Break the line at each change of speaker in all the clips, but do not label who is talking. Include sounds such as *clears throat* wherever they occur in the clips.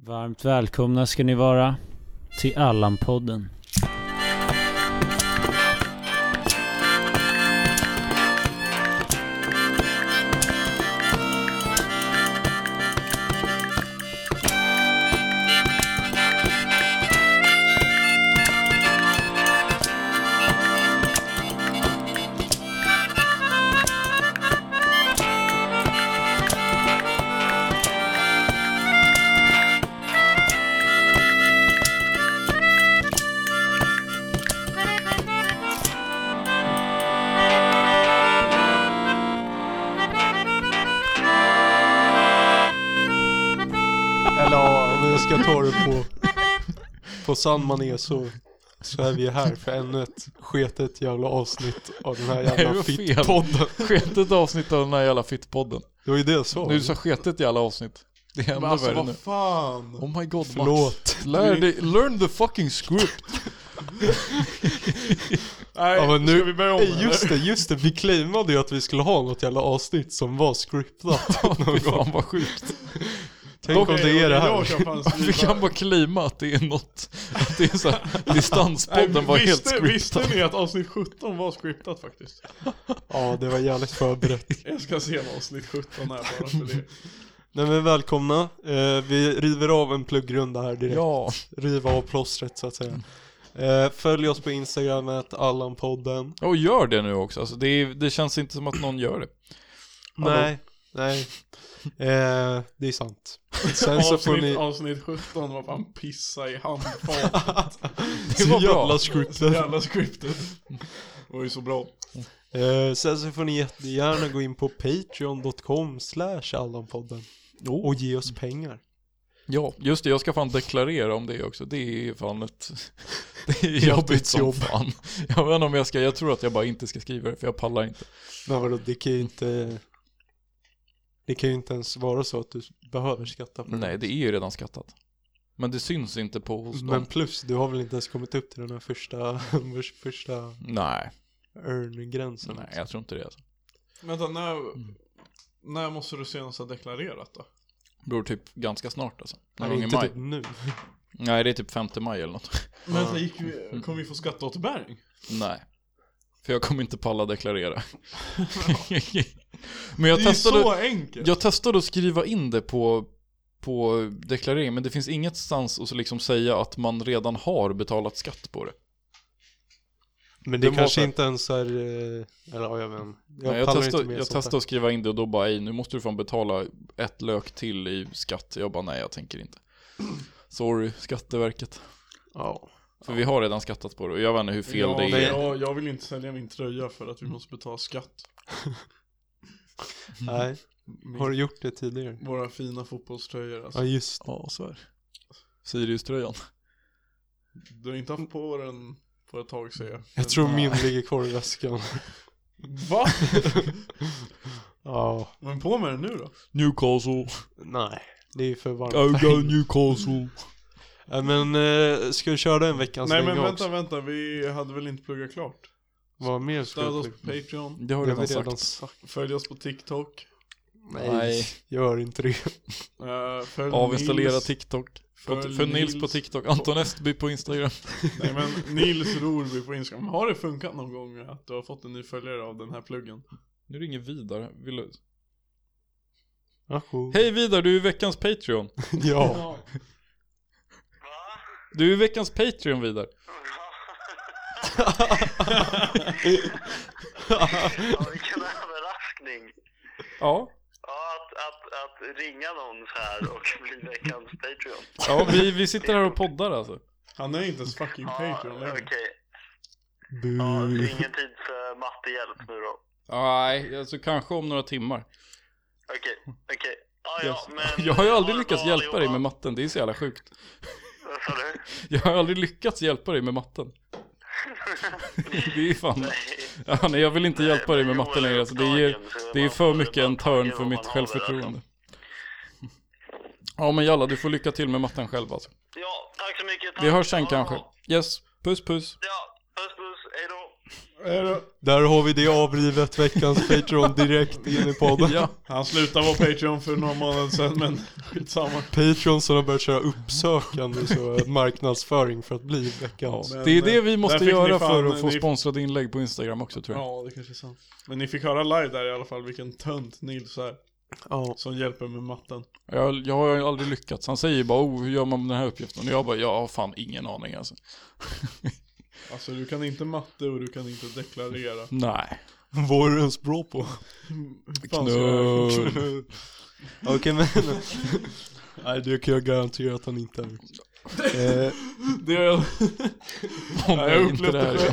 Varmt välkomna ska ni vara till Allan-podden.
Eller ja, om jag ska ta det på, på sann manér så, så är vi här för ännu ett sketet jävla avsnitt av den här
Nej, det
jävla
var fel.
fittpodden.
Sketet avsnitt av den här jävla fittpodden.
Det var ju det jag sa.
Nu sa sketet jävla avsnitt. Det är ännu
Men alltså
värre nu.
vad fan.
Oh my god
Förlåt.
Max. Lär dig, learn the fucking script. *laughs* Nej,
Ja, men nu-
ska vi börja om
Nej, just det, just det. Vi claimade ju att vi skulle ha något jävla avsnitt som var scriptat.
Fy fan vad sjukt.
Tänk om det är det här. *laughs*
Vi kan bara klima att det är något. Att det är så här, distanspodden var helt
visste,
scriptad.
visste ni att avsnitt 17 var scriptat faktiskt?
Ja, det var jävligt förberett.
Jag ska se vad avsnitt 17 är bara för det.
Nej men välkomna. Eh, vi river av en pluggrunda här direkt.
Ja,
Riva av plåstret så att säga. Eh, följ oss på Instagram, Allanpodden.
och gör det nu också. Alltså, det, är, det känns inte som att någon gör det. Hallå.
Nej, nej. Eh, det är sant. Sen så får
Avsnitt,
ni... Alltså,
avsnitt 17 var fan pissa i
*laughs*
handfat.
Det
var bra.
jävla
Så
scriptet.
jävla scriptet. Det var ju så bra.
Eh, sen så får ni jättegärna gå in på patreon.com slash allanpodden och ge oss pengar.
Ja, just det. Jag ska fan deklarera om det också. Det är fan ett... *laughs* Det är jobbigt som
jobb.
fan. Jag vet inte om jag ska... Jag tror att jag bara inte ska skriva det, för jag pallar inte.
Men vadå, det kan ju inte... Det kan ju inte ens vara så att du behöver skatta för det.
Nej, det är ju redan skattat. Men det syns inte på hos
Men
dem.
plus, du har väl inte ens kommit upp till den här första, *laughs* vars första
Nej,
earn-gränsen?
nej, jag tror inte det. Alltså.
Vänta, när,
Mm.
när måste du senast ha deklarerat då?
Beror typ ganska snart alltså. Någon
Nej,
gång i
inte
maj.
typ
*laughs*
nu.
Nej, det är typ 5 maj eller något.
Vänta, gick vi,
Mm.
kommer vi få skatteåterbäring?
Nej. För jag kommer inte palla deklarera. Men jag
Det är ju
testade...
så enkelt.
Jag testade att skriva in det på, på deklareringen, men det finns inget stans att så liksom säga att man redan har betalat skatt på det.
Men det
Det
kanske
måste-
inte ens är... eh, Eller ja, jag vet inte.
Jag, jag,
pallar
testade,
inte med
jag
sånt där.
testade att skriva in det och då bara, "Ej, nu måste du fan betala ett lök till i skatt. Jag bara, nej jag tänker inte. *clears throat* Sorry, Skatteverket.
Ja.
För vi har redan skattat på det och jag vet inte hur fel
ja,
det är.
men Jag, jag vill inte sälja min tröja för att vi måste betala skatt.
Nej.
Min,
Har du gjort det tidigare?
Våra fina fotbollströjor alltså.
Ja just
Ja, så är det. Sirius-tröjan.
Du har inte haft på den på ett tag säger jag.
Jag tror min ligger kvar i *laughs* väskan.
Va?
*laughs* Ja,
Men på med den nu då?
Newcastle,
nej. Det är ju för varmt. *laughs*
I got Newcastle.
Nej, Men eh, ska vi köra en veckans
Nej
länga
men vänta,
också?
vänta, vi hade väl inte pluggat klart?
Vad mer ska
Stöd
vi
oss
plugga?
på Patreon,
Det har
Det har
jag
vi
redan sagt.
redan sagt.
följ oss på TikTok,
Nej.
Nej.
Gör inte det.
eh, följ
Avinstallera
Nils,
TikTok. För,
följ
Nils på TikTok. Anton Estby på Instagram.
*laughs* Nej men Nils Rorby på Instagram. Har det funkat någon gång att du har fått en ny följare av den här pluggen?
Nu ringer Vidar. Vill du...
Ajo.
Hej Vidar, du är veckans Patreon.
*laughs* Ja.
Du är veckans Patreon Vidar.
Ja, vilken överraskning.
Ja.
Ja, att, att, att ringa någon så här och bli veckans Patreon.
Ja, vi, vi sitter här och poddar alltså.
Han är inte ens fucking
Ja,
Patreon
okej.
längre.
Bu.
Ja, det är ingen tid för mattehjälp nu då.
Nej, alltså kanske om några timmar.
Okej, okej. Ja, ja, men...
Jag har ju aldrig
ha det
lyckats
bra
hjälpa dig
allihopa.
med matten, det är så jävla sjukt.
*laughs* Vad sa du?
Jag har aldrig lyckats hjälpa dig med matten. Det är fan... Ja, nej, jag vill inte hjälpa dig med matten längre alltså, det, ger, det är för mycket en törn för mitt självförtroende. Ja men jalla, du får lycka till med matten själv alltså.
Ja, tack så mycket. Tack.
Vi hörs sen
Ha det bra.
kanske. Yes, puss puss.
Ja, puss puss, hejdå.
Är det-
Där har vi det avrivet veckans Patreon direkt in i *laughs* podden.
Ja.
Han slutade vara Patreon för några månader sedan men skitsamma.
Patreon som har börjat köra uppsökande så marknadsföring för att bli veckans.
Ja,
Det är
Men,
det
eh,
vi måste
där fick ni
göra
fan-
för att få
ni-
sponsrade inlägg på Instagram också tror jag.
Ja, det kanske är sant. Men ni fick höra live där i alla fall vilken tönt Nils är
Ja.
som hjälper med matten.
Jag, jag har ju aldrig lyckats. Han säger ju bara oh, hur gör man med den här uppgiften? Och jag bara jag har fan ingen aning alltså.
Alltså du kan inte matte och du kan inte deklarera.
Nej.
Vad är du ens bra på?
Hur fan ska jag-
Knull.
*laughs*
Okej men... Nej det kan jag garantera att han inte är. Eh,
Det har jag
Om
jag
jag inte
upplevde
det här.
det.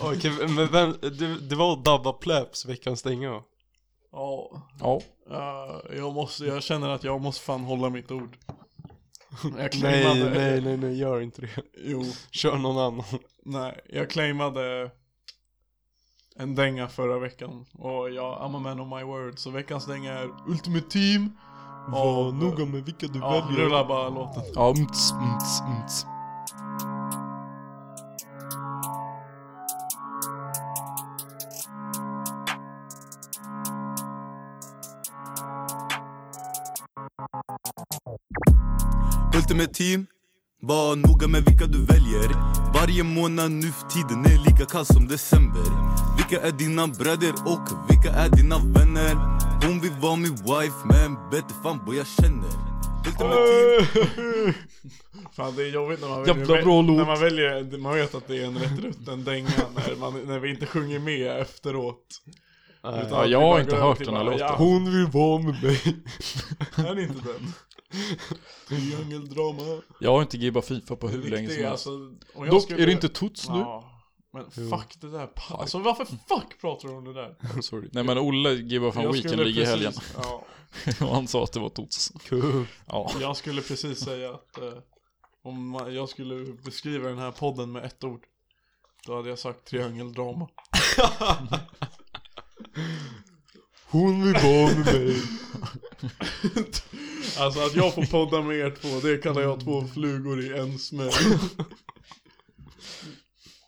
Okej men vem, det, det var Dabba Pläps veckans stänga va?
Ja,
Ja.
eh, jag måste, jag känner att jag måste fan hålla mitt ord. *laughs* Jag
Nej,
claimade,
nej, nej, nej, gör inte det.
jo,
Kör någon annan.
nej, jag claimade en dänga förra veckan och jag, I'm a man of my word, så veckans dänga är Ultimate Team.
Var
av-
noga med vilka du
Ja,
väljer.
rulla bara låten.
ja mts, mts, mts.
Ultimate team Var noga med vilka du väljer Varje månad nu för tiden är lika kall som december Vilka är dina bröder och vilka är dina vänner? Hon vill vara min wife men bättre fan vad jag känner Ultimate team
Fan det är jobbigt när man
Jävla
väljer,
bra låt.
när man väljer, man vet att det är en rätt rutten dänga när, man, när vi inte sjunger med efteråt.
Nej.
Utan
Ja,
att
jag
vi
har
bara
inte
går över
hört
till
den här
bara,
låten.
ja,
Hon vill vara med mig.
Är inte den? Triangeldrama.
*laughs* Jag har inte gibbat FIFA på hur länge som helst.
och alltså. jag
Dock,
skulle-
är det inte Tots nu?
Ja, men fuck det där. Pa- Alltså varför fuck pratar du om det där?
*laughs* Sorry. Nej men Olle gibbade fan Weekend League i helgen.
ja,
*laughs* Och han sa att det var Tots.
Kul.
Ja.
jag skulle precis säga att eh, om man, jag skulle beskriva den här podden med ett ord. Då hade jag sagt triangeldrama.
Hon vill vara med mig.
Alltså att jag får podda med er två, det kallar jag två flugor i en smäll.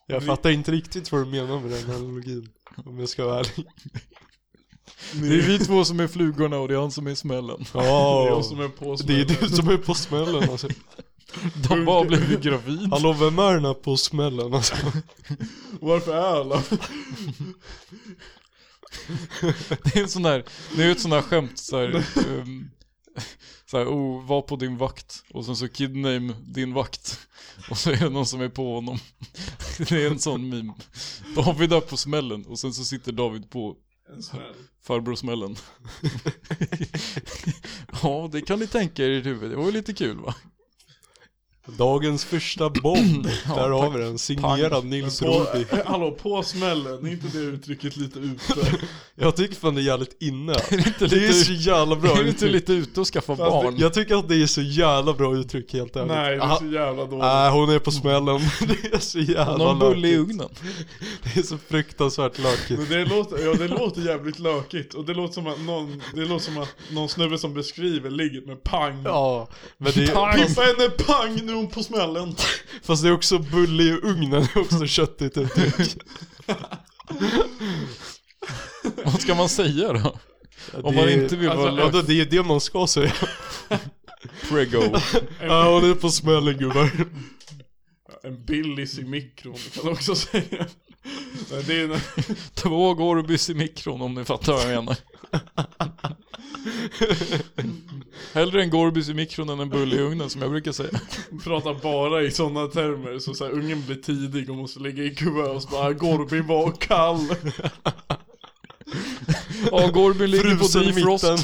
Jag fattar inte riktigt vad du menar med den analogin. Om jag ska vara ärlig.
Det är vi två som är flugorna och det är han som är smällen.
Det är
Ja.
jag som är på
Det är
smällen.
du som är på smällen alltså.
De bara blev gravid.
Hallå vem är den här på smällen alltså?
Varför är alla...
Det är en sån där, det är ett sån där skämt så här, ehm, så här, oh, var på din vakt och sen så kidname din vakt och så är det någon som är på honom. *laughs* Det är en sån meme. David är på smällen och sen så sitter David på
En smäll.
*laughs*
farbror smällen. Ja, det kan ni tänka er i ert huvud. Det var ju lite kul va?
Dagens första *clears throat* bomb. Där har vi den. Signerad Nils
På,
Rodby.
hallå, på smällen, är inte det uttrycket lite ute?
Jag tycker fan det är jävligt
*laughs*
inne.
inte
Det är
lite-
så jävla bra
är du inte
uttryck. Alltså,
lite ute och skaffa
Fast
barn?
Jag tycker att det är så jävla bra uttryck helt ärligt.
Nej, det är
Ah,
så jävla dåligt.
Nej, hon är på smällen. *laughs* Det är så jävla
Någon bulle i
lökigt.
ugnen?
Det är så fruktansvärt
Men
*laughs*
lökigt.
det låter, ja, det låter jävligt lökigt och det låter som att någon, det låter som att någon snubbe som beskriver ligger med pang.
Ja, men det är,
Pippa henne pang, nu är hon på smällen.
fast det är också bulle i ugnen, *laughs* det är också köttigt
*laughs*
uttryck.
Vad ska man säga då? Om
Det
man
är-
inte vill vara
alltså,
lök...
vadå, Det är ju det man ska
*laughs*
säga.
Prego.
Ja, hon är på smällen
*laughs*
gubbar.
En billis i mikron kan man också säga. Nej, det är en,
Två Gorbys i mikron om ni fattar vad jag menar. Hellre en Gorbys i mikron än en bulle i ugnen som jag brukar säga.
pratar bara i sådana termer så, så här, ungen blir tidig och måste ligga i kuvös och så bara Gorbi var kall. *laughs*
Ja, Gorby ligger
Frusen
på
i
defrost. *laughs*
mitten.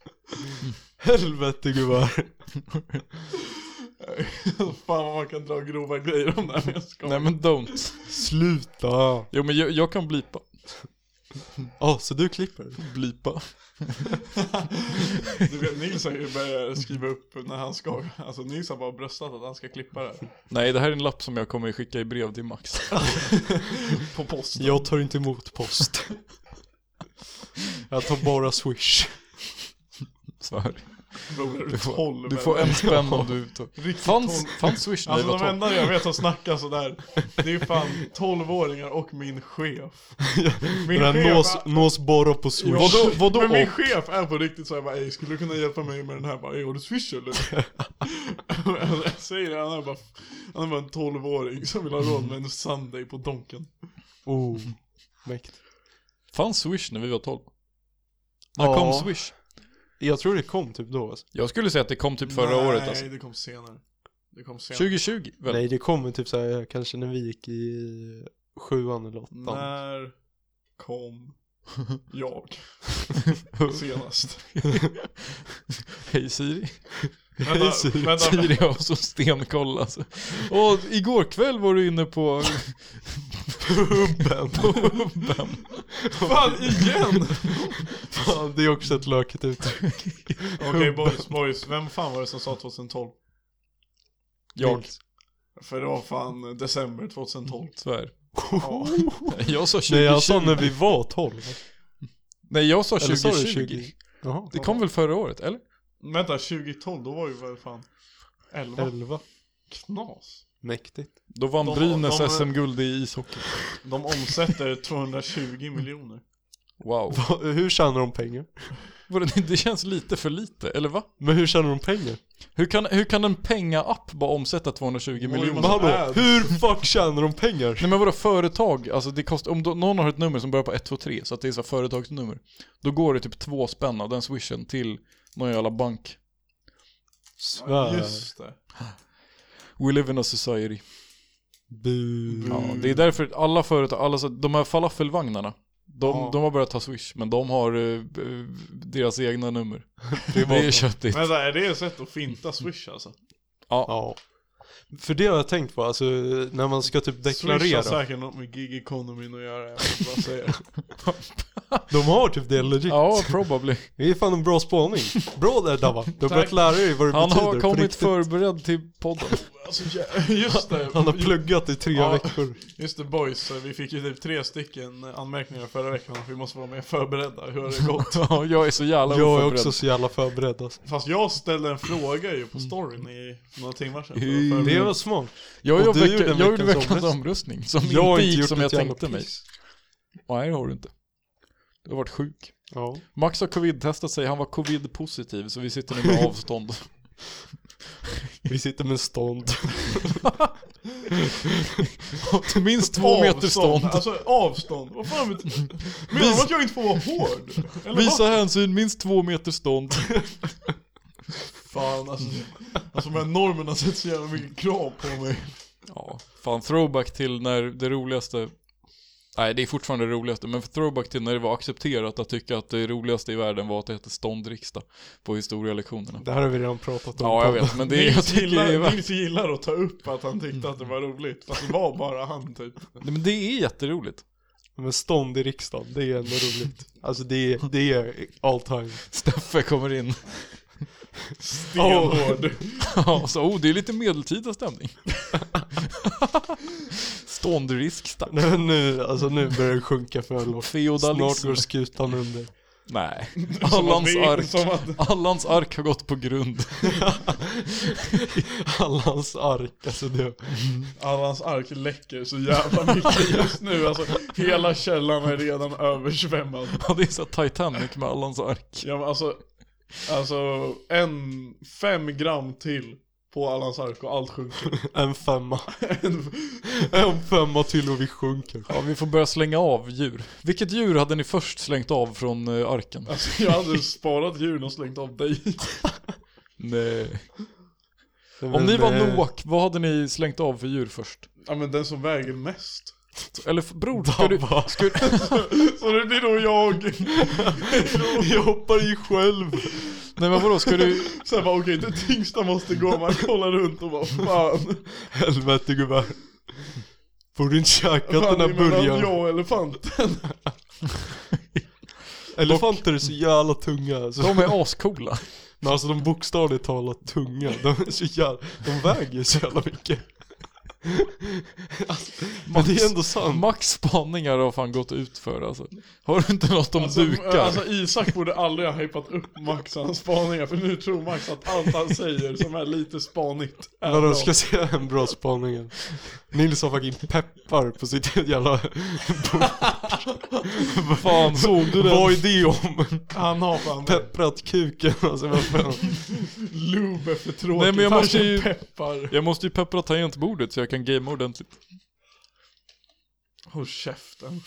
*laughs* Helvete gubbar.
Fan vad man kan dra grova grejer om det här men jag skojar.
Nej men don't.
Sluta. Ja,
Jo men jag, jag kan blipa.
så du klipper?
Blipa.
Du vet, Nils har ju börjat skriva upp när han ska, alltså Nils har bara bröstat att han ska klippa det här.
Nej det här är en lapp som jag kommer skicka i brev till Max.
På post.
Jag tar inte emot post. Jag tar bara swish.
Så här.
Bror,
Du får,
12
du får en spänn om du tar... Fanns, fanns swish när vi
Alltså
var
de
12?
enda jag vet som snackar sådär, det är ju fan 12-åringar och min chef. Min
Den här nås, nås bara på
Ja,
swish.
Vadå- vadå
men min
och?
chef är på riktigt såhär bara, "Ey, skulle du kunna hjälpa mig med den här? Bara, "Ey, har du swish eller? *laughs* jag säger det, han är bara, han är bara en 12-åring som vill ha råd med en Sunday på Donken.
Oh, mäkt.
Fanns swish när vi var 12? När
Ja.
kom swish?
Jag tror det kom typ då alltså.
Jag skulle säga att det kom typ förra
Nej,
året alltså.
Nej, det kom senare. Det kom senare.
2020 väl?
Nej det kommer typ såhär kanske när vi gick i sjuan eller *laughs* åttan.
När
*laughs*
kom jag
*laughs*
*laughs*
senast?
Hej Siri.
Vänta,
Siri.
vänta.
Siri har så stenkoll alltså. Och igår kväll var du inne på... *laughs*
Hubben!
Hubben.
Fan igen!
*laughs* Fan det är också ett löket uttryck.
Okej boys, boys. Vem fan var det som sa 2012?
Jag,
För det var fan december 2012.
tyvärr.
Ja.
Nej, Jag sa
*laughs*
2020.
Nej jag sa när vi var 12.
Nej, jag sa
Eller sa du
2020.
20? Jaha.
Det kom väl förra året, eller?
Vänta, 2012 då var ju väl fan 11.
11.
Knas.
Mäktigt. *laughs*
Då vann
De-
Brynäs
de-
SM-guld i ishockey.
De omsätter 220
*laughs*
miljoner.
Wow.
Va, hur tjänar de pengar?
Var det- Det känns lite för lite, eller va?
Men hur tjänar de pengar?
Hur kan, hur kan en penga-app bara omsätta 220 miljoner?
Men hallå,
ads.
hur fuck tjänar de pengar?
Nej men vadå företag? Alltså det kostar, om då, någon har ett nummer som börjar på 123, så att det är så här företagsnummer. Då går det typ två spänn av den swishen till någon jävla bank.
Svär.
Just det.
We live in a society.
Bu.
Ja, det är därför alla företag, alla, så- de här falafelvagnarna, de,
Ja.
de har börjat ta swish, men de har eh, eh, deras
*laughs*
egna nummer.
Privata.
Det är köttigt.
Vänta, är det ett sätt att finta swish alltså?
Ja. För det har jag tänkt på, alltså när man ska typ
Swish har
deklarera.
säkert något med gig economy att göra, jag vill
*laughs*
bara säga.
De har typ det legit.
Ja,
*laughs*
probably.
Det är fan en bra spaning. Bra där Dabba. Du har
Tack.
börjat lära dig vad det
Han
betyder
har
på
kommit
riktigt.
förberedd till
*laughs*
podden.
Alltså, jä- just det.
Han har pluggat i tre
Ja.
veckor.
Just det boys, vi fick ju typ tre stycken anmärkningar förra veckan att vi måste vara mer förberedda. Hur har det
*laughs*
gått?
Ja, jag är så jävla
Jag är
oförberedd.
också så jävla förberedd alltså.
Fast jag ställde en fråga ju på storyn i några timmar sedan. för
Det
att förbereda.
var smart.
Jag,
Och
jag,
du
vecka,
gjorde
jag
en
gjorde
veckans
veckans
omröstning.
omröstning som
Jag har
inte
inte
gick
gjort
som jag
ett jävla
tänkte mig.
piss.
Nej, det har du inte. Du har varit sjuk.
Ja.
Max har covid-testat sig, han var covid-positiv så vi sitter nu
*laughs*
med avstånd.
Vi sitter med stånd.
Minst två meter
Avstånd,
stånd.
Alltså avstånd. Vad
*laughs*
fan betyder Menar de att jag inte får vara hård? Eller
Visa
vad?
hänsyn, minst två meter stånd.
Fan alltså. Alltså de här normerna sätter så jävla mycket krav på mig.
Ja, fan throwback till när det roligaste Nej det är fortfarande det roligaste, men throwback till när det var accepterat att tycka att det roligaste i världen var att det hette ståndriksdag på historielektionerna.
Det här har vi redan pratat om.
Ja jag vet, men det är, jag
Nils,
tycker det är
gillar,
värt
Nils gillar att ta upp att han tyckte att det var roligt. Fast det var bara han typ.
Nej, men det är jätteroligt.
Men stånd i riksdagen, det är ändå roligt. Alltså det är, det är all time.
Steffe kommer in
Stenhård.
*laughs* Ja, så, oh, det är lite medeltida *laughs* stämning. Ståndriksdag.
Nej, men nu, alltså nu börjar det sjunka för lågt. Snart
Feodalism.
går skutan under. *laughs*
*laughs* Nej.
Som att
Allans
vi- Som
ark.
att
Allans ark har gått på grund.
Allans ark, alltså det.
Allans ark läcker så jävla mycket just nu alltså, Hela källan är redan översvämmad
Ja, det är så här Titanic med Allans ark.
ja, men alltså, alltså en fem gram till på Allans ark och allt sjunker
En femma. En femma till och vi sjunker.
Ja, vi får börja slänga av djur. Vilket djur hade ni först slängt av från eh, arken?
Alltså jag hade sparat djuren och slängt av dig
*laughs* Nej. Om
Men,
ni var
eh,
Noak, vad hade ni slängt av för djur först?
Ja men den som väger mest
Eller f- bror, ska du... Ska du
Så det blir då jag
*laughs* Jag hoppar i själv.
nej men vadå, ska du... *laughs*
Såhär bara okej det tyngsta måste gå Man kollar runt och bara fan
Helvete gubbar. Får du inte käkat den
Fan det är
här
mellan
burgaren?
jag och elefanten
Elefanter är så jävla tunga alltså.
De är ascoola.
Men alltså de bokstavligt talat tunga. De är så jävla, de väger så jävla mycket. Men det är ändå sant.
Max spaningar har fan gått ut för alltså. Har du inte något om
Alltså,
dukar?
alltså Isak borde aldrig ha hypat upp Max och hans spaningar för nu tror Max att allt han säger som är lite spanigt är
Vadå,
bra.
ska jag säga en bra spaning? Nils har fucking peppar på sitt jävla...
Vad fan såg du
Vad
den?
är det om?
Han har fan
Pepprat kuken alltså, vad fan.
lube efter tråkigt.
Nej, men jag måste
Han
ju-
peppar.
Jag måste ju peppra tangentbordet så jag kan gamea ordentligt.
Håll käften.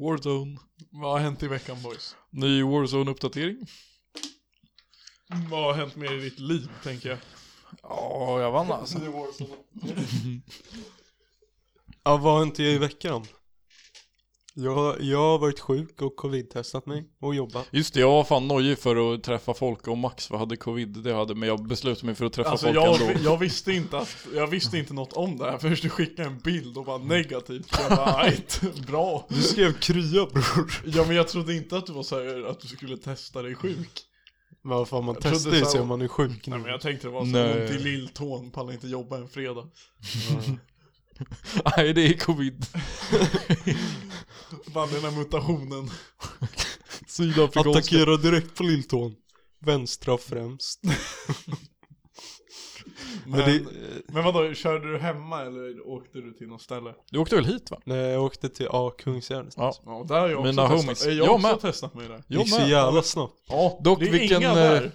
Warzone.
Vad har hänt i veckan boys?
Ny Warzone-uppdatering.
Vad har hänt mer i ditt liv tänker jag?
Ja, jag vann alltså.
Ja, vad har inte jag i veckan? Jag, jag har varit sjuk och covid-testat mig och jobbat.
*laughs* Just det, jag var fan nojig för att träffa folk och Max för hade covid, det hade, men jag beslutade mig för att träffa
Alltså
folk
jag,
ändå.
jag visste inte att, jag visste inte något om det här förrän du skickade en bild och bara negativt. Jag bara "Ajt, *laughs* bra.
Du skrev krya bror.
Ja men jag trodde inte att du var så här, att du skulle testa dig sjuk.
Men vad fan man
trodde
testar ju
så-
sig om man är sjuk nu.
Nej men jag tänkte det var så
Nej.
här, ont i lilltån, pallar inte jobba en fredag.
Nej, det är covid.
Fan den här mutationen.
Sydafrikanska.
Attackera direkt på lilltån. Vänstra
*laughs*
främst.
Men,
Men
men,
det,
vadå, körde du hemma eller åkte du till något ställe?
Du åkte väl hit va?
när jag åkte till ja, Kungsgärdet.
Ja.
Ja där har jag också
Mina
testat.
homies.
Jag,
Jag
har också
med.
testat mig där.
Det
Jag
gick så
med.
jävla snabbt.
Ja,
Dock,
det är
vilken,
inga
eh,
där.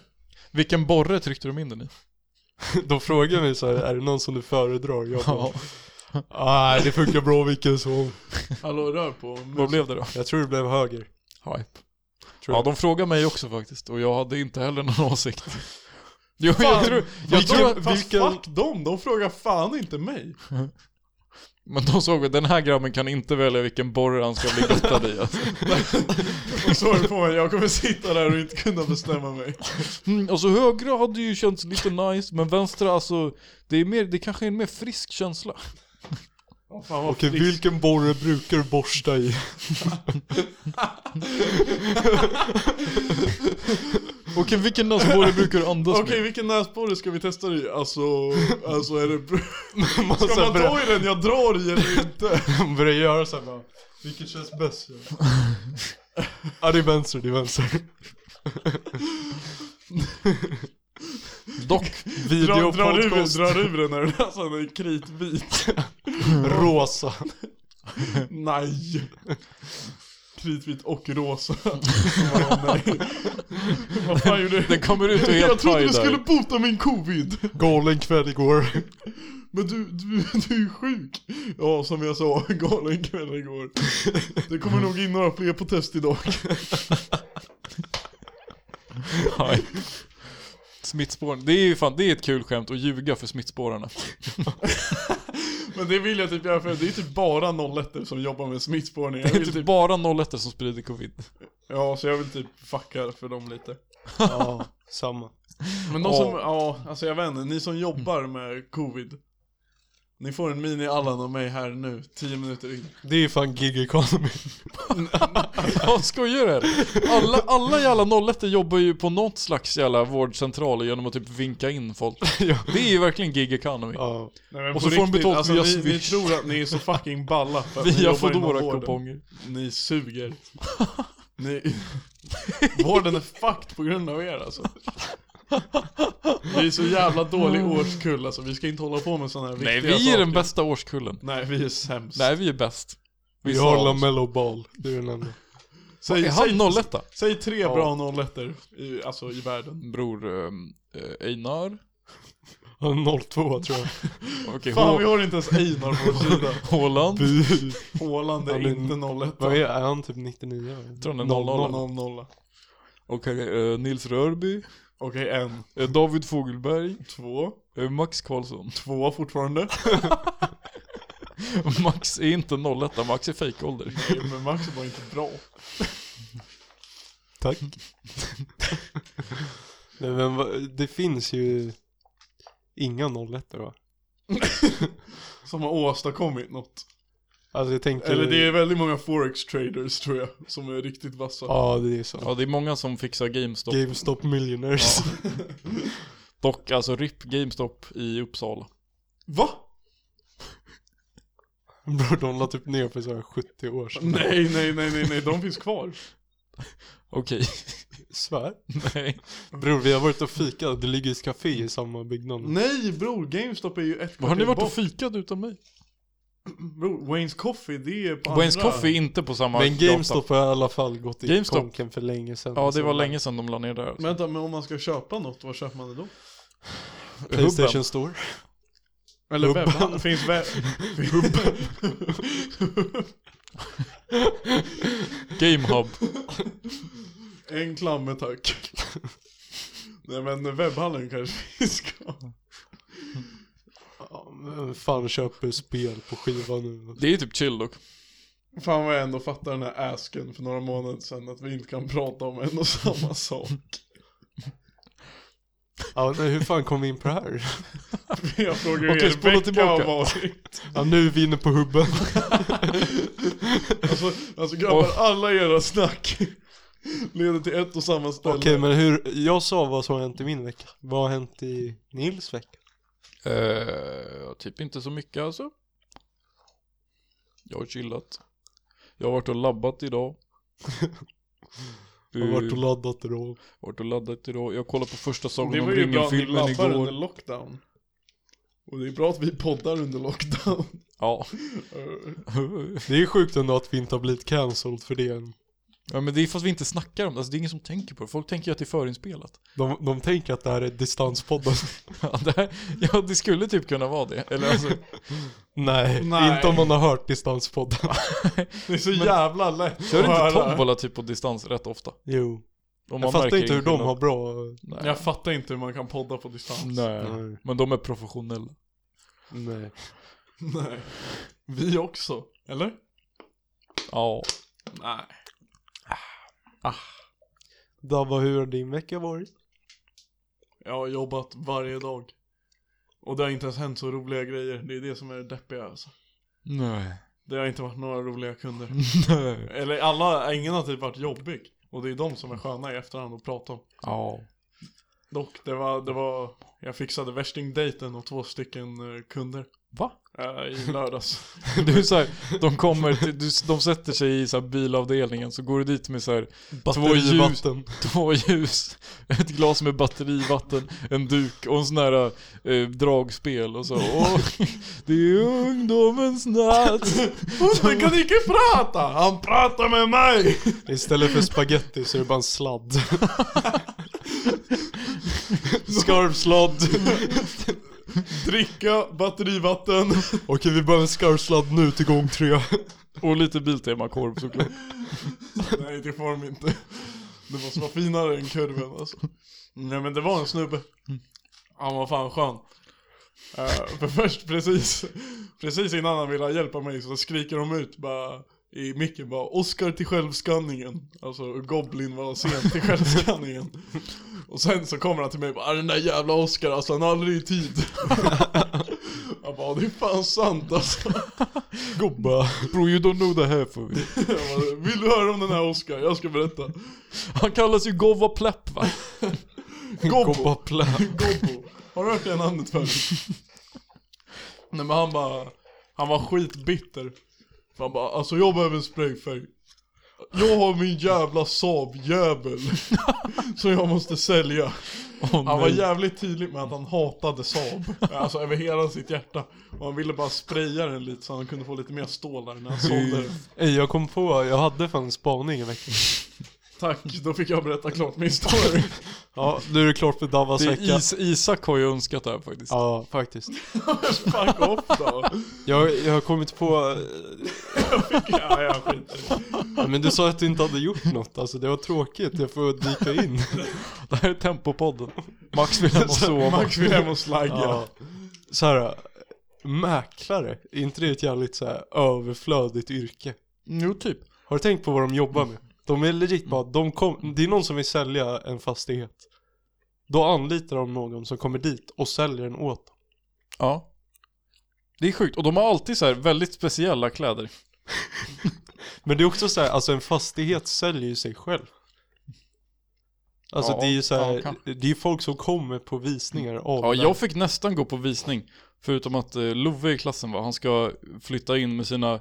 Vilken borre tryckte de in den i?
De frågade mig så här, är det någon som du föredrar? Jag bara, nej det funkar bra vilken som.
Hallå rör på
Vad blev det då?
Jag tror det blev höger.
Hype.
Tror
Ja,
jag.
de frågade mig också faktiskt och jag hade inte heller någon åsikt. Jo, *laughs* jag
Fan.
tror, jag
Jag
tror
tror,
att
fast
vilken-
fuck dem, de frågar fan inte mig.
Men de såg att den här grabben kan inte välja vilken borre han ska bli guttad i. Alltså.
Och *laughs* så är det på mig, jag kommer sitta där och inte kunna bestämma mig.
Mm, alltså högra hade ju känts lite nice, men vänstra alltså, det är mer, det kanske är en mer frisk känsla.
Ja, fan vad
Okej,
frisk.
vilken borre brukar du borsta i?
Okej, vilken näsborre brukar du andas
Okej,
med?
vilken näsborre ska vi testa dig? Alltså, alltså är det...
*laughs* Massa
Ska man
brä-
ta i den jag drar i
*laughs*
eller inte?
De började göra såhär bara, vilket känns bäst? ja det är vänster, det är vänster.
Dock,
Dra, drar,
Videopodcast,
ur, drar ur den när den *laughs* alltså, den är kritvit.
*laughs* rosa.
Nej. Kritvit och *laughs* rosa. Bara, Nej. Vad fan gjorde
den
du?
kommer ut och är
Jag
helt
trodde du
paj
skulle
där.
bota min covid.
Galen kväll igår.
Men du, du, du är sjuk! Ja, som jag sa, galen kväll igår. Det kommer nog in några fler på test idag.
Nej. Smittspåren, det är ju fan, det är ett kul skämt att ljuga för smittspårarna.
Men det vill jag typ göra för det är typ bara 01 som jobbar med smittspårning.
Det
Jag
är
vill
typ
typ,
bara 01 som sprider covid.
ja, så jag vill typ fucka för dem lite.
ja, samma.
Men de
Ja.
som, ja, Mm. alltså jag vet inte, ni som jobbar med covid. Ni får en mini-Allan av mig här nu, 10 minuter in.
Det är fan gig economy.
Ja, skojar du eller? alla, alla jävla 01 jobbar ju på något slags jävla vårdcentral genom att typ vinka in
*laughs*
folk. Det är ju verkligen gig economy.
Ja.
Nej, men
Och
på
så får de
riktigt, alltså,
betalt via
ni, ni
Swish.
tror att ni är så fucking
*laughs*
balla för att ni
Via
jobbar inom vården.
Foodora-kuponger. *laughs*
Ni suger. Ni... Vården är fucked på grund av er alltså. Vi är så jävla dålig årskull alltså, vi ska inte hålla på med sådana här
Mm. Nej,
viktiga
vi är
saker.
den bästa årskullen.
Nej, vi är sämst.
Nej, vi är bäst.
Vi
sa
har
oss.
LaMelo Ball, det är den enda.
säg,
Är
säg,
han 01
säg tre bra nolletter i, alltså, i världen.
Bror ehm, eh, Einar?
Han är 02 tror jag.
Okej,
Fan,
Hå-
vi har inte ens Einar
*laughs*
på vår sida.
Håland?
Håland
Han
är
är-
inte 01.
Vad är, är han typ 99?
Jag tror han är 00.
000.
Okej, eh, Nils Rörby?
Okej, en,
Eh, David Fogelberg?
två,
Eh, Max Karlsson?
två fortfarande.
*laughs* Max är inte 01 Max är fejkålder.
Nej, men Max var inte bra.
Tack. Nej, men vad- det finns ju inga 01 va?
Som har åstadkommit något.
Alltså jag tänkte...
Eller det är väldigt många forex traders tror jag, som är riktigt vassa.
Ja, det är sant.
Ja, det är många som fixar GameStop.
GameStop Millionaires.
Dock, alltså RIP GameStop i Uppsala.
Va?
*laughs* Bror de la typ ner för såhär 70 år sedan.
Nej, nej, nej, nej, nej, de finns kvar.
Okej, *laughs*
Svär.
nej.
Bror vi har varit och fika, det ligger ett café i samma byggnad.
Nej bror, GameStop är ju ett
Har ni
kvarter
varit och
bort.
fikat utan mig?
Bror, Wayne's Coffee, det är på
Wayne's
andra.
Coffee är inte på samma
Men
gata.
GameStop har i alla fall gått i
GameStop.
konken för länge sedan.
Ja, det var länge sedan de la ner där.
Men Vänta, men om man ska köpa något, vad köper man det då?
Playstation Store.
Eller
Hubben.
webban? *laughs* Finns webb...
Gamehub.
en klamme tack. *laughs* Nej men webbhallen kanske *laughs* vi ska.
Ja, men fan köper spel på skiva nu.
Det är typ chill dock.
Fan vad jag ändå fattar den här asken för några månader sedan att vi inte kan prata om en och samma *laughs* sak.
Ja, nej, hur fan kom vi in på det här?
Jag frågar ju
Okej,
er
spola
vecka har
tillbaka.
varit.
Ja, nu är vi inne på hubben.
Alltså, alltså grabbar, alla era snack *laughs* leder till ett och samma ställe.
*laughs* Okej, men hur, jag sa vad som har hänt i min vecka. Vad har hänt i Nils vecka?
Eh, typ inte så mycket alltså. Jag har chillat. Jag har varit och labbat idag.
Jag har varit och laddat idag.
varit och laddat idag. Jag kollade på första Sagan
Det
om
var ju bra att ni
ringen-filmen
lappar under
igår.
lockdown. Och det är bra att vi poddar under lockdown.
Ja.
Det är sjukt ändå att vi inte har blivit cancelled för det än.
ja, men det är fast vi inte snackar om det. Alltså, det är ingen som tänker på det. Folk tänker ju att det är förinspelat. *laughs*
De, de tänker att det här är distanspodden. *laughs*
Ja, det, här, ja, det skulle typ kunna vara det. Eller alltså,
Nej,
Nej.
inte om man har hört distanspodden.
Det är så jävla lätt
kör
att
inte
höra.
tombola typ på distans rätt ofta?
*laughs* Jo.
Om man
Jag fattar
märker
inte hur
ingen
de har bra...
skillnad.
*laughs* Jag fattar inte hur man kan podda på distans.
Nej. Nej.
Nej.
Men de är professionella.
Nej.
*laughs* Nej. Vi också. Eller?
Ja.
Nej.
Dabba, hur har din vecka varit?
Jag har jobbat varje dag. Och det har inte ens hänt så roliga grejer. Det är det som är det deppiga alltså. *laughs*
Nej.
Det har inte varit några roliga kunder. *laughs*
Nej.
Eller alla, ingen har typ varit jobbig. Och det är de som är sköna i efterhand att prata om.
Ja.
Dock, det var, det var, jag fixade värstingdejten och två stycken eh, kunder.
*laughs* Va?
eh, I lördags.
Du är så här, de kommer, till, du, de sätter sig i så här bilavdelningen så går du dit med så här,
Batterivatten.
två ljus, ett glas med batterivatten, en duk och en sån här eh, dragspel och så. Och, *laughs* det är ungdomens
*laughs*
natt.
Han
*laughs*
kan inte prata! Han pratar med mig!
Istället för spaghetti så är det bara en sladd. skarvsladd.
*laughs* Dricka batterivatten.
*laughs*
Okej, vi behöver en skarvsladd nu till gång tre.
Och lite Biltema-korv såklart.
Nej, det får de inte. Det måste vara finare än kurven alltså. Nej men det var en snubbe. Han var fan skön. Eh, för först precis, precis innan han ville hjälpa mig så skriker de ut bara i micken bara Oscar till självskanningen. Alltså Goblin var sen till självskanningen. Och sen så kommer han till mig och bara "Ah, den där jävla Oscar alltså han är aldrig i tid. Jag bara det är fan sant alltså.
Gubba. Bro you don't know the här för me.
Jag bara, Vill du höra om den här Oscar? Jag ska berätta.
Han kallas ju Gova Plepp
*laughs*
va?
Gobbo.
Koppla.
Gobbo. Har du hört det namnet förut? Nej men han bara, han var skitbitter. För han bara, alltså jag behöver en sprayfärg. Jag har min jävla Saab-jävel. *laughs* som jag måste sälja.
Åh,
Han var
nej.
jävligt tydlig med att han hatade Saab. Alltså över hela sitt hjärta. Och han ville bara spraya den lite så han kunde få lite mer stålar när han sålde den.
*laughs* Ey, jag kom på, jag hade fan en spaning i veckan.
Tack, då fick jag berätta klart
*laughs*
min story.
Ja, nu är det klart för Davas
det
vecka.
är Is Isak har ju önskat det här faktiskt.
Ja, faktiskt.
Fuck off då.
Jag, jag har kommit på,
Ja, jag skiter i det.
eh, men du sa att du inte hade gjort något. Alltså det var tråkigt, jag får dyka in.
Det här
*laughs*
är Tempopodden. Max vill hem och sova.
Max vill hem och slagga.
Ja. Så här, mäklare, är inte det ett jävligt så här överflödigt yrke?
Jo typ. Mm.
Har du tänkt på vad de jobbar med? De är legit bara, de kom, det är någon som vill sälja en fastighet. Då anlitar de någon som kommer dit och säljer den åt dem.
Ja. Det är sjukt. Och de har alltid så här väldigt speciella kläder.
Men det är också så här, alltså en fastighet säljer ju sig själv. Alltså
Ja,
det är ju så här,
ja, kanske.
det är folk som kommer på visningar av
Ja,
den.
jag fick nästan gå på visning. Förutom att eh, Love i klassen var, han ska flytta in med sina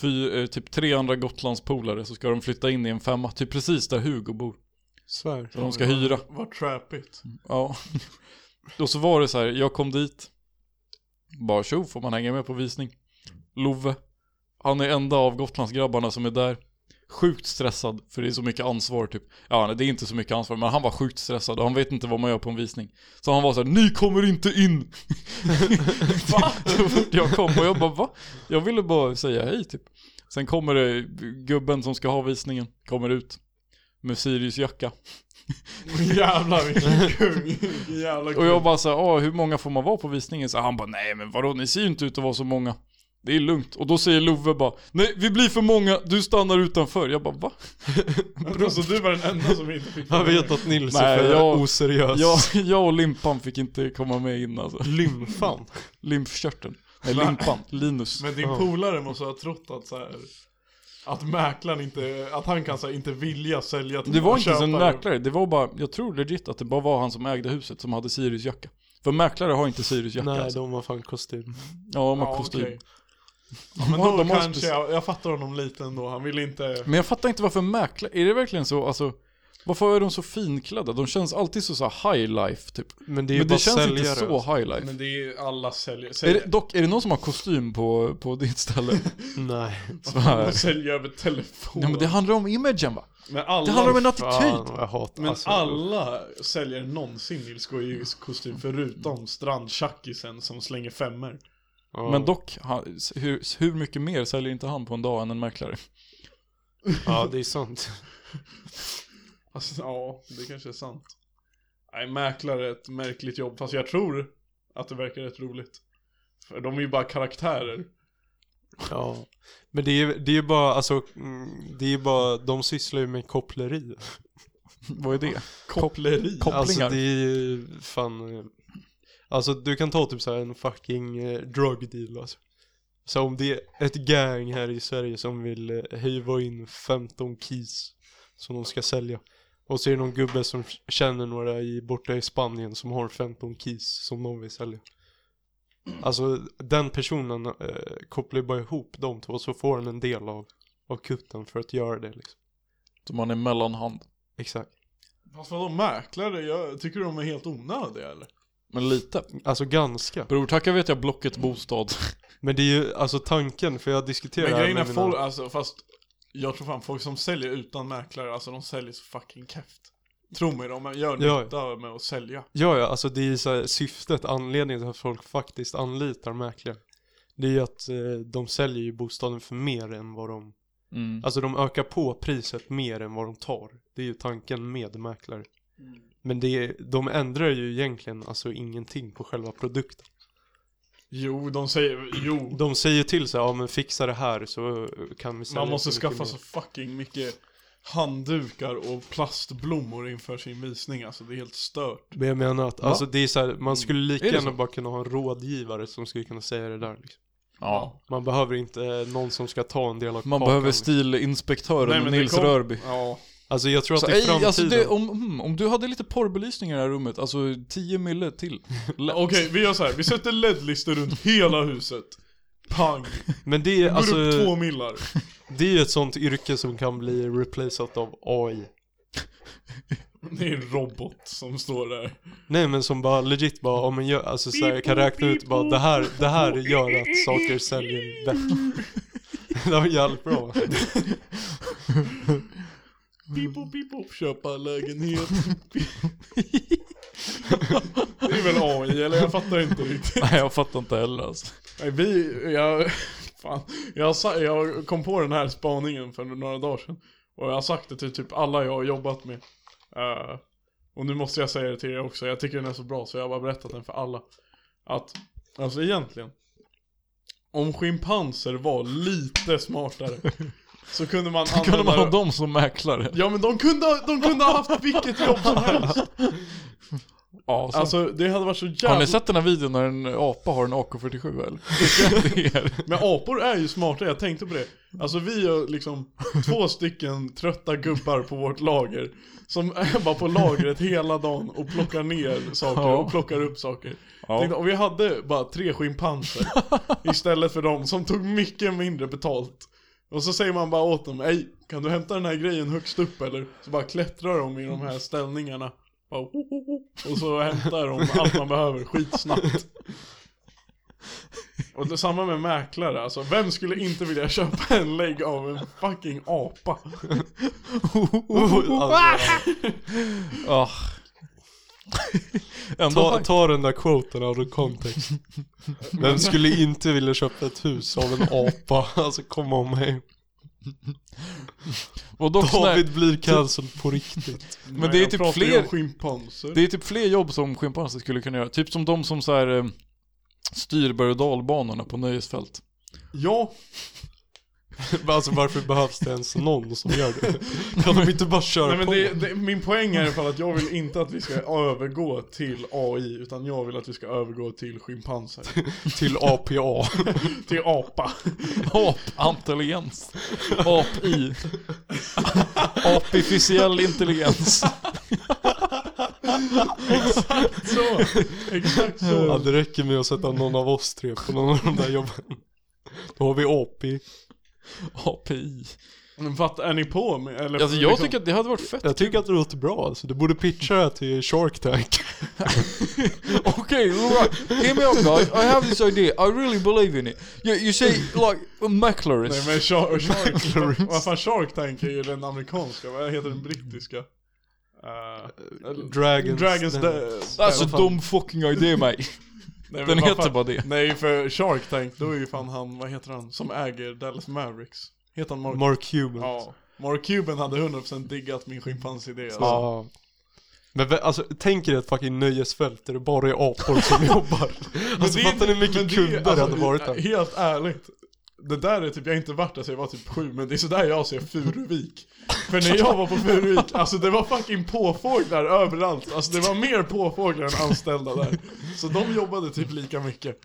fy, eh, typ tre andra Gotlandspolare så ska de flytta in i en femma, typ precis där Hugo bor.
svär.
Så de ska hyra.
Vad trappigt.
Ja. Och så var det så här, jag kom dit. Bara tjo, får man hänga med på visning? Love. Han är enda av Gotlandsgrabbarna som är där. Sjukt stressad, för det är så mycket ansvar typ. Ja, nej, det är inte så mycket ansvar, men han var sjukt stressad och han vet inte vad man gör på en visning. Så han var så här, ni kommer inte in! va? *laughs* Så fort jag kom och jag bara, va? Jag ville bara säga hej typ. Sen kommer det, gubben som ska ha visningen, kommer ut. Med Sirius jacka.
*laughs* Jävlar vilken kung. Vilken jävla
*laughs*
kung.
Och jag bara såhär, ah, hur många får man vara på visningen? Så han bara, nej men vadå, ni ser ju inte ut att vara så många. Det är lugnt. Och då säger Love bara, nej vi blir för många, du stannar utanför. Jag bara, va?
Bro, så Alltså, du var den enda som inte fick
Jag vet att Nils är
Nej,
för
jag-
oseriös.
Jag, jag och Limpan fick inte komma med in alltså.
Lymfan.
Lymfkörteln. Nej, Limpan. Linus.
*laughs* Men din polare måste ha trott att så här, att mäklaren inte, att han kan så här, inte vilja sälja till
Det var
någon
inte ens en
köpare.
mäklare, det var bara, jag tror legit att det bara var han som ägde huset som hade Siriusjacka. För mäklare har inte Siriusjacka
Nej,
alltså.
de har fan kostym.
Ja, de har
Ja,
kostym.
okej. Ja, men
Ja,
då
de har Mm.
kanske
spec-
jag, jag fattar honom lite ändå, han vill inte...
Men jag fattar inte varför mäklare, är det verkligen så, alltså, varför är de så finklädda? De känns alltid så, så här high life typ.
Men det är ju
men
bara
det känns
säljare. alltså.
inte så high life.
Men det är ju alla säljer,
är
säljer,
det, dock, är det någon som har kostym på, på
*laughs*
ditt ställe?
Nej.
Så här.
de säljer över telefon.
Ja, men det handlar om imagen va?
Men alla,
Det handlar om en
Fan,
attityd!
vad jag hatar.
men
alltså,
alla säljer någonsin Nils går i kostym förutom strandtjackisen som slänger femmer.
ja.
Men dock, han, hur, hur mycket mer säljer inte han på en dag än en mäklare?
Ja, det är sant.
Alltså, ja, det kanske är sant. Nej, mäklare är ett märkligt jobb, fast jag tror att det verkar rätt roligt. För de är ju bara karaktärer.
Ja. Men det är, det är bara, alltså, mm, det är bara, de sysslar ju med koppleri.
Vad är det?
Koppleri.
Kopplingar.
Alltså det är ju fan, eh, alltså du kan ta typ så här en fucking eh, drug deal alltså. Så om det är ett gang här i Sverige som vill eh, hyva in 15 keys som de ska sälja. Och så är det någon gubbe som k- känner några i, borta i Spanien som har 15 keys som de vill sälja. Alltså den personen eh, kopplar ju bara ihop de två så får han en del av, av kutten för att göra det liksom.
Som han är mellanhand.
Exakt.
Fast vadå mäklare? Jag tycker de är helt onödiga eller?
Men lite.
Alltså ganska.
Bror, tacka vet jag Blocket Bostad.
Men det är ju alltså tanken, för jag diskuterar
Men
det här
grejen är
med mina-
folk, alltså fast jag tror fan folk som säljer utan mäklare, alltså de säljer så fucking keft. Tro mig, de gör
Ja.
nytta med att sälja.
Ja, ja, alltså det är ju så här, syftet, anledningen till att folk faktiskt anlitar mäklare. Det är ju att eh, de säljer ju bostaden för mer än vad de,
Mm.
alltså de ökar på priset mer än vad de tar. Det är ju tanken med mäklare.
Mm.
Men det, är- de ändrar ju egentligen alltså ingenting på själva produkten.
Jo, de säger, jo.
De säger till så här, ja men fixa det här så eh, kan vi sälja
Man måste
så mycket
skaffa
mer."
så fucking mycket handdukar och plastblommor inför sin visning, alltså det är helt stört.
Men jag menar att, alltså det är så här,
Mm.
man skulle lika
Är det
gärna
så?
bara kunna ha en rådgivare som skulle kunna säga det där liksom.
Ja.
Man behöver inte eh, någon som ska ta en del av
Man
kakan.
behöver
liksom.
stilinspektören
men det
Nils
kom-
Rörby.
Ja.
Alltså jag tror att
Så,
i
ej,
framtiden...
alltså det, om, mm, om du hade lite porrbelysning i det här rummet, alltså 10 mille *laughs* till. Lätt.
Okej, vi gör så här. vi sätter LED-listor runt hela huset. Pang!
Men det är
Går
alltså,
upp två millar.
det är ju ett sånt yrke som kan bli replaceat av AI.
Det är en robot som står där.
Nej men som bara legit bara, om man gör, alltså så här, jag kan räkna ut bara det här, det här gör att saker säljer bättre. *laughs* det var jävligt bra.
Pipop, pipop, köpa lägenhet. det är väl AI, eller jag fattar inte
*laughs*
riktigt.
Nej, jag fattar inte heller alltså.
Nej, vi, jag, *laughs* fan, jag, sa, jag kom på den här spaningen för några dagar sedan. Och jag har sagt det till typ alla jag har jobbat med. Eh, och nu måste jag säga det till er också, jag tycker den är så bra så jag har bara berättat den för alla. Att, alltså egentligen. Om schimpanser var
*laughs*
lite smartare så kunde man använda...
Kunde man ha dem som mäklare? *laughs*
Ja men de kunde, ha- de kunde ha haft vilket jobb som helst.
Ja, så.
Alltså det hade varit så jävla...
har ni sett den här videon när en apa har en AK47 *laughs* eller? Det är-
Men apor är ju smarta, jag tänkte på det. Alltså vi är liksom två stycken trötta gubbar på vårt lager. Som är bara på lagret hela dagen och plockar ner saker
Ja.
och plockar upp saker.
Ja.
Tänkte, om vi hade bara tre
*laughs*
schimpanser istället för dem som tog mycket mindre betalt. Och så säger man bara åt dem, ej kan du hämta den här grejen högst upp eller? Så bara klättrar de i de här ställningarna. Bara, "Oh, oh, oh." och så hämtar de allt man behöver skitsnabbt. Och det, samma med mäklare, alltså vem skulle inte vilja köpa en lägg av en fucking apa?
*laughs* Ah. Ändå,
Ta, ta den där quoten out of
*laughs*
context. Vem skulle inte vilja köpa ett hus av en apa? *laughs* Alltså kom om mig.
och dock sån här-
David *laughs* blir cancelled på riktigt.
Men det är
jag
typ
pratar ju
fler-
om schimpanser.
Det är typ fler jobb som schimpanser skulle kunna göra. Typ som de som så här, eh, styr berg och dalbanorna på *laughs* nöjesfält.
Ja,
*laughs* Alltså varför behövs det ens någon som gör
*laughs*
det? Kan de inte bara köra
nej men
på?
det, det, min poäng är i alla fall att jag vill inte att vi ska övergå till AI, utan jag vill att vi ska övergå till schimpanser.
Till
*laughs*
APA.
Till apa. *laughs*
Ap-intelligens. *laughs* Ap-i. *laughs* Artificiell intelligens.
Så, exakt så.
Ja, det räcker med att sätta någon av oss tre på någon av de där jobben. Då har vi AP.
API.
Men vad är ni på med? Eller, liksom-
Alltså jag tycker att det hade varit fett. *laughs*
Jag tycker att det låter bra alltså. Du borde pitcha det här till Shark
*laughs*
Tank.
Okej, okay, alright. Hear me out guys. I have this idea. I really believe in it. You, you see, like, macularis.
Nej men Shark,
*laughs*
shark, vad fan, shark Tank är ju den amerikanska, vad heter den brittiska? Eh,
Dragons,
Dragons Alltså,
Den-
Den.
That's a dumb Alltså, fucking idea mate.
Nej, men
Den
vad
heter
fan-
bara det.
Nej för Shark Tank, då är ju fan han, vad heter han, som äger Dallas Mavericks? Heter han Mark?
Mark Cuban.
ja. Mark Cuban hade 100% diggat min schimpansidé alltså.
Ja. Men vä- alltså, tänk er ett fucking nöjesfält där det bara är apor som *laughs* jobbar. Alltså
det är
fattar ni hur
inte-
mycket
men det är-
kunder det
alltså,
hade varit där?
Helt ärligt. Det där är typ, jag har inte varit där så jag var typ sju, men det är sådär jag ser Furuvik. För när jag var på Furuvik, alltså det var fucking påfåglar överallt. Alltså det var mer påfåglar än anställda där. Så de jobbade typ lika mycket.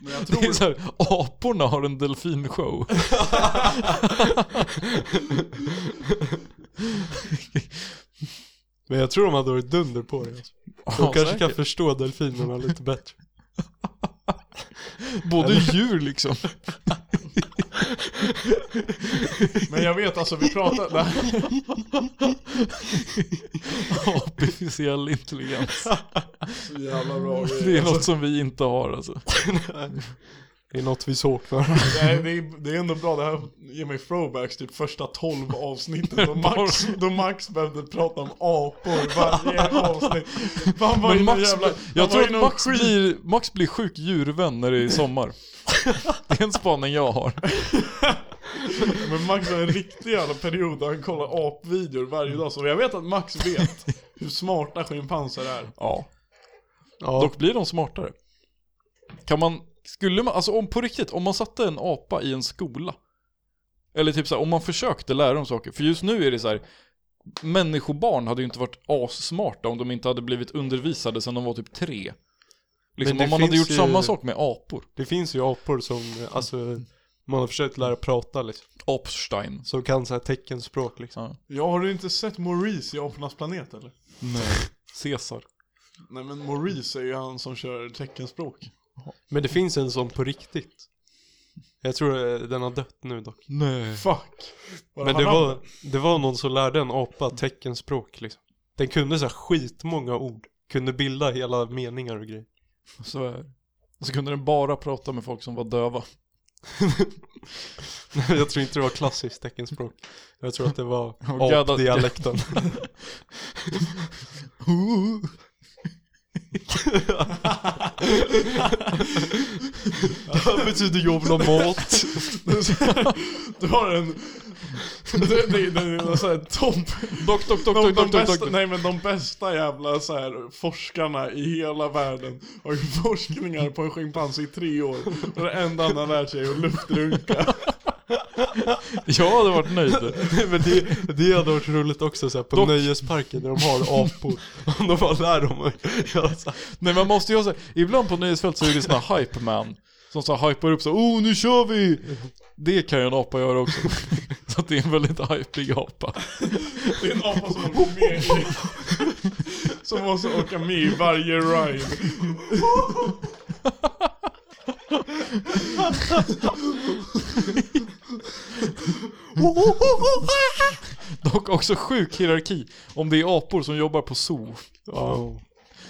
Men jag
Det är
tror...
så här, aporna har en delfinshow.
*laughs*
Men jag tror de hade varit dunder på det. Alltså. De
Ja,
kanske kan
säkert.
förstå delfinerna
*laughs*
lite bättre.
Både djur liksom.
Men jag vet alltså, vi pratade... Det här,
Artificiell
*laughs*
intelligens.
så jävla bra
Det är något som vi inte har alltså.
Det är något vi saknar.
Nej, det, är, det är ändå bra, det här ger mig throwbacks typ första 12 avsnitten då Max, då Max behövde prata om apor *laughs* varje avsnitt. Fan var ju
Men
någon
Max,
jävla... han
jag tror
var ju
att
någon
Max blir, Max blir sjuk djurvän när det är
*laughs*
sommar. Det är en spaning jag har.
Men Max har en riktig jävla period där han kollar apvideor varje dag så jag vet att Max vet hur smarta schimpanser är.
Ja.
Ja.
Dock blir de smartare. Kan man, skulle man, alltså om på riktigt, om man satte en apa i en skola. Eller typ så här, om man försökte lära dem saker. För just nu är det så här. Människobarn hade ju inte varit assmarta om de inte hade blivit undervisade sedan de var typ tre. Liksom
det
om man hade
finns
gjort
ju-
samma sak med apor.
Det finns ju apor som, eh, alltså, man har försökt lära prata liksom.
Apstein.
Som kan så här teckenspråk liksom.
Ja, har du inte sett Maurice i Apornas planet eller?
Caesar.
Nej men Maurice är ju han som kör teckenspråk.
Men det finns en sån på riktigt. Jag tror eh, den har dött nu dock.
Nej.
Fuck. Var
Men
han
det
namn?
var, det var någon som lärde en apa teckenspråk liksom. Den kunde så här skitmånga ord. Kunde bilda hela meningar och grejer. *laughs*
Så är det. Och så kunde den bara prata med folk som var döva.
Jag tror inte det var klassiskt teckenspråk. Jag tror att det
*laughs*
var
gadda-
apdialekten. det här betyder jag vill ha mat.
*laughs* Du har en... Det, det, det är en sån här topp...
Dock, dock, dock,
De,
dock,
de
dock, dock,
bästa,
dock.
nej men de bästa jävla så här, forskarna i hela världen har ju *laughs* forskningar på en schimpans i tre år och det enda han har lärt sig är att luftrunka.
Jag hade varit nöjd.
*laughs* Men det, det hade varit roligt också så här, på
Dock-
nöjesparken när de har
*laughs*
apor. Om de bara lär dem att göra så här.
Nej man måste ju ha så här, ibland på nyhetsfält så är det såna här hype man Som så här hypar upp så här, oh nu kör vi! Det kan ju en apa göra också. *laughs* Så att det är en väldigt hypig apa.
Det är en apa som åker med i, Som måste åka med i varje ride.
*laughs* Dock också sjuk hierarki om det är apor som jobbar på zoo.
Ja.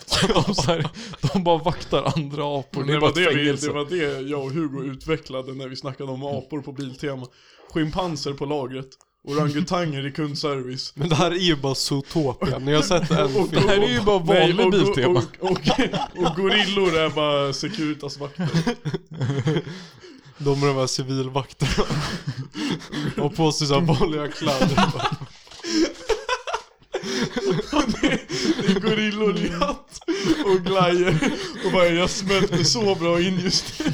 Så att *laughs* de, så här, de bara vaktar andra apor. Det
Det
är bara
var
ett
det, vi, det
fängelse.
var det jag och Hugo utvecklade när vi snackade om apor på Biltema. Schimpanser på lagret. Orangutanger i kundservice.
Men det här är ju bara Zootopia. Ni har sett
*laughs*
en film.
Det här är ju bara
*laughs* Nej,
vanlig
och-
Biltema.
Och, och, och, och gorillor är bara Securitas-vakter.
De med de här civilvakterna.
*laughs*
Och på sig såhär vanliga kläder.
Det är gorillor i hatt och glajer. Och bara jag smälter så bra in just nu.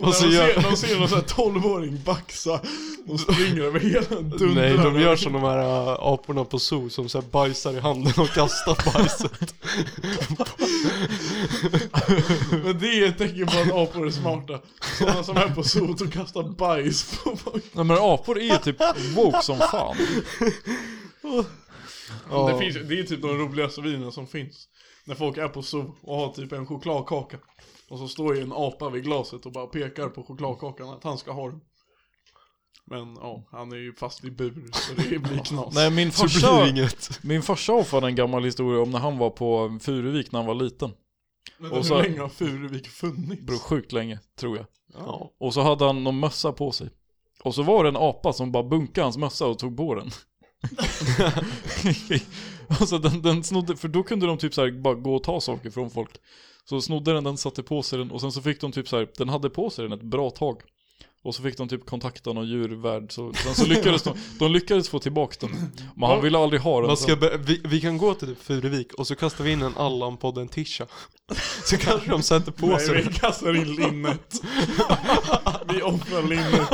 Och så
de,
gör...
ser, de ser någon sån här 12-åring baxa och springer över hela dundrar.
Nej, de gör som de här äh, aporna på zoo som såhär bajsar i handen och kastar bajset.
Men det är ett tecken på att apor är smarta. Sådana som är på sot och kastar bajs på folk.
Nej men *laughs* apor är typ woke
*laughs*
som fan.
Det, finns, det är typ de roligaste videorna som finns. När folk är på zoo och har typ en chokladkaka. Och så står ju en apa vid glaset och bara pekar på chokladkakan att han ska ha den. Men ja, han är ju fast i bur så det
*laughs*
blir knas.
Nej
*laughs*
min
Så blir det
farsa,
inget.
min farsa har fan en gammal historia om när han var på Furuvik när han var liten.
Men
och
hur
så-
länge har Furuvik funnits?
Bro, sjukt länge tror jag.
Ja.
Och så hade han någon mössa på sig. Och så var det en apa som bara bunkade hans mössa och tog på den. *laughs* alltså den, den snodde, för då kunde de typ så här bara gå och ta saker från folk. Så snodde den den, satte på sig den och sen så fick de typ så här, den hade på sig den ett bra tag. Och så fick de typ kontakta någon djurvärd, så sen så lyckades de, de lyckades få tillbaka den. Men han ville aldrig ha den.
Man ska
sen.
be- vi, vi kan gå till typ Furuvik och så kastar vi in en Allan-podd en tisha. Så kanske de sätter på
Nej,
sig
vi kastar in linnet. *laughs* vi offrar linnet.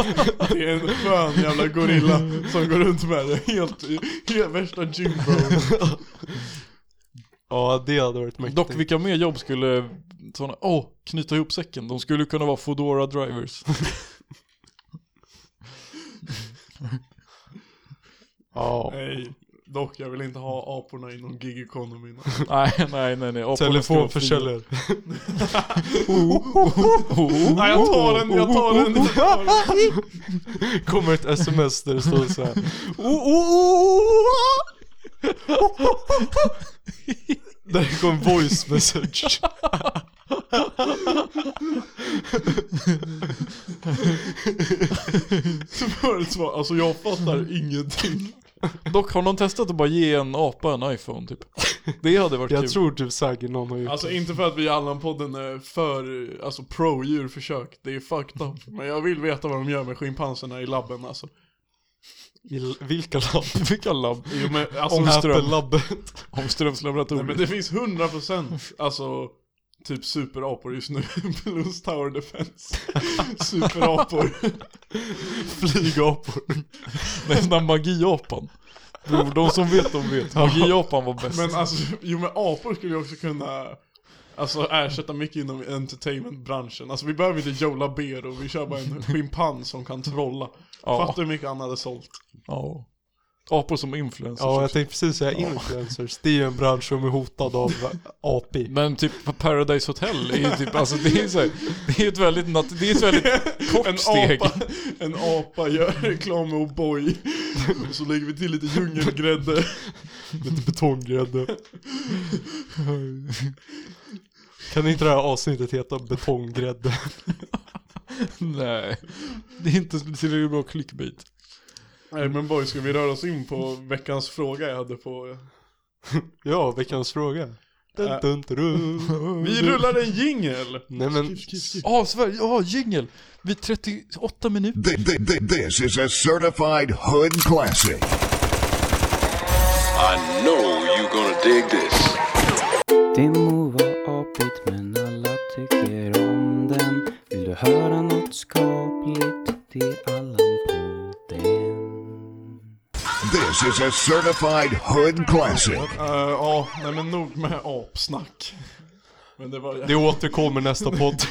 Det är en skön jävla gorilla som går runt med det. Helt, helt värsta gymbro.
Ja, det hade varit mäktigt.
Dock vilka mer jobb skulle sådana, åh, knyta ihop säcken. De skulle kunna vara Foodora drivers. *laughs*
Ja.
Nej, dock jag vill inte ha aporna inom gig economy.
nej, nej, nej, nej. Aporna ska vara fria.
Telefonförsäljare.
Nej jag tar den, jag tar den. Jag tar den.
Kommer ett sms där det står *laughs* så här. Där kom voice message.
Så får ett svar. Alltså jag fattar ingenting.
Dock har någon testat att bara ge en apa en iPhone typ. *laughs* Det hade varit kul.
Jag tror typ säkert någon har gjort
Alltså inte för att vi i Allan-podden är för, alltså pro-djurförsök. Det är fucked *laughs* up. Men jag vill veta vad de gör med schimpanserna i labben alltså.
I vilka labb?
Vilka labb?
Jo *laughs* men alltså.
Apple-labbet.
Ångströms
Nej, men
laboratorium.
det finns 100% alltså typ superapor just nu. *laughs* Plus Tower *laughs* Defense. *laughs* Superapor.
Flygapor.
*laughs* Nej, Den där magiapan. Bror, de som vet de vet. Magiapan var bäst.
Men alltså, jo men apor skulle ju också kunna Alltså ersätta mycket inom entertainmentbranschen. Alltså vi behöver inte Joe Labero, vi kör bara *laughs* en schimpans som kan trolla.
Ja.
Fattar hur mycket han hade sålt.
ja. Apor som influencers.
Ja, jag tänkte precis säga influencers. Det är ju en bransch som är hotad av API.
Men typ Paradise Hotel är ju typ, alltså det är så här, det är ett väldigt, nat- det är ett väldigt
*laughs* En
kort steg. *laughs*
apa, en apa gör reklam med O'boy. Och så lägger vi till lite djungelgrädde.
Lite betonggrädde. Kan inte det här avsnittet heta betonggrädde?
Nej. Det är inte tillräckligt bra clickbait.
Nej men boy, ska vi röra oss in på veckans fråga jag hade på...
Ja, veckans fråga. Dun,
Äh.
dun, dun.
Vi rullar en jingel!
Nej men,
Ja, Sverige, ja, jingel. Vid 38 minuter.
Th- th- th- This is a certified hood classic.
I know you're gonna dig this.
Det må vara
till Allan-podden.
This is a certified hood classic.
Eh, ja, nej men nog med apsnack. Men det var
Det återkommer nästa
*laughs*
podd.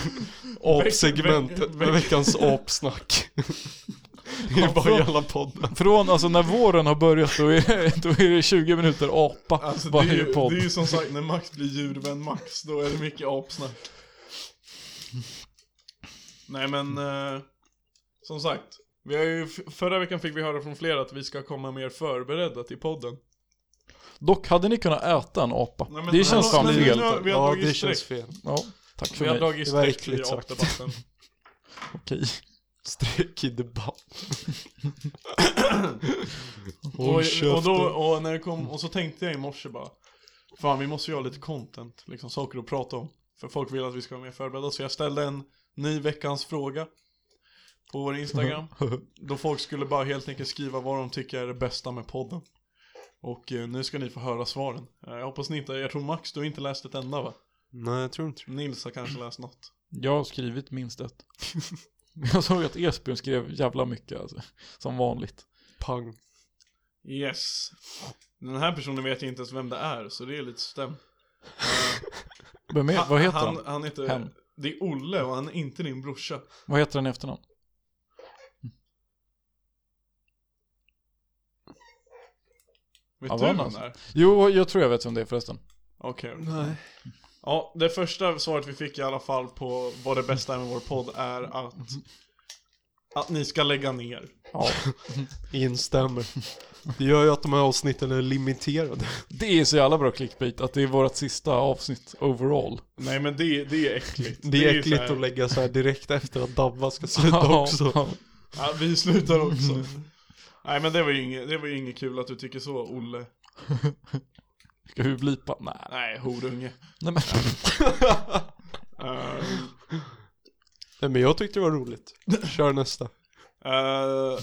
Apsegmentet.
veck-
Veckans apsnack. Det är bara i alla poddar.
Från, alltså när våren har börjat då är, *laughs* det- då är det 20 minuter apa
Alltså, det, är
varje
ju,
podd.
det är ju som sagt när Max blir djurvän Max, då är det mycket apsnack. Nej men, eh, som sagt. Vi har ju, f- förra veckan fick vi höra från flera att vi ska komma mer förberedda till podden.
Dock hade ni kunnat äta en apa.
Nej, men-
det känns
men-
fan
men-
fel.
nu har- vi har
Ja,
dragit
det
streck.
känns fel.
Ja, tack för
Vi har
mig.
dragit
Det var
streck i
äckligt sagt.
apdebatten.
Okej.
Streck i debatt.
Och, och,
käften.
då, och, när det kom, och så tänkte jag i morse bara Fan vi måste göra lite content, liksom saker att prata om För folk vill att vi ska vara mer förberedda Så jag ställde en ny veckans fråga På
*laughs*
vår Instagram Då folk skulle bara helt enkelt skriva vad de tycker är det bästa med podden Och eh, nu ska ni få höra svaren Eh, Jag hoppas ni inte, jag tror Max du har inte läst ett enda va?
Nej, jag tror inte det.
Nils har kanske läst något
Jag har skrivit minst ett. *laughs* Jag såg att Esbjörn skrev jävla mycket alltså. Som vanligt.
Pang.
Yes Den här personen vet jag inte ens vem det är så det är lite stämt
Vem är, vad heter han?
Han, han heter,
Hen.
det är Olle och han är inte din brorsa
Vad heter han i efternamn?
Vet
Ja,
du
vad
vem
nice.
det är?
Jo, jag tror jag vet vem det är förresten.
Okej. Ja, det första svaret vi fick i alla fall på vad det bästa är med vår podd är att att ni ska lägga ner. *laughs*
Ja.
Instämmer. Det gör ju att de här avsnitten är limiterade.
Det är så jävla bra clickbait att det är vårt sista avsnitt overall.
Nej men det, det är äckligt.
Det är
ju
äckligt
så här-
att lägga så här direkt efter att Dabba ska sluta också.
Ja, vi slutar
Mm.
också. Nej men det var ju inget, det var ju inget kul att du tycker så, Olle.
Ska vi blipa? Nej.
Nej, horunge.
Nej men.
*laughs* Eh,
Nej, men jag tyckte det var roligt. Kör nästa.
eh,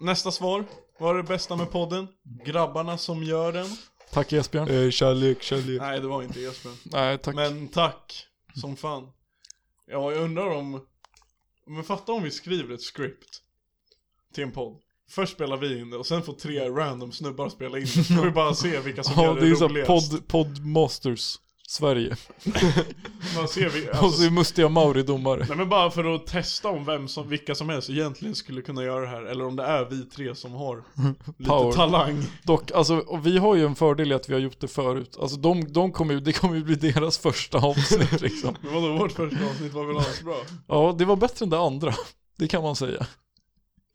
nästa svar. Vad är det bästa med podden? Grabbarna som gör den?
Tack Esbjörn.
Eh, kärlek, kärlek.
Nej, det var inte Esbjörn.
Nej, tack.
Men tack som fan. Ja, jag undrar om... Men fatta om vi skriver ett script till en podd. Först spelar vi in det och sen får tre random snubbar spela in det. Så får vi bara se vilka som
Ja,
gör
det
det,
är ju såhär
roligast.
podd, poddmasters Sverige.
Man
*laughs*
ser vi,
Och så
alltså,
är mustiga Mauri-domare.
Nej men bara för att testa om vem som, vilka som helst egentligen skulle kunna göra det här. Eller om det är vi tre som har lite
Power.
talang.
Dock, alltså, och vi har ju en fördel i att vi har gjort det förut. Alltså de, de kommer ju, det kommer ju bli deras första avsnitt *laughs* liksom.
Men vadå, vårt första avsnitt var väl asbra?
Ja, det var bättre än det andra. *laughs* Det kan man säga.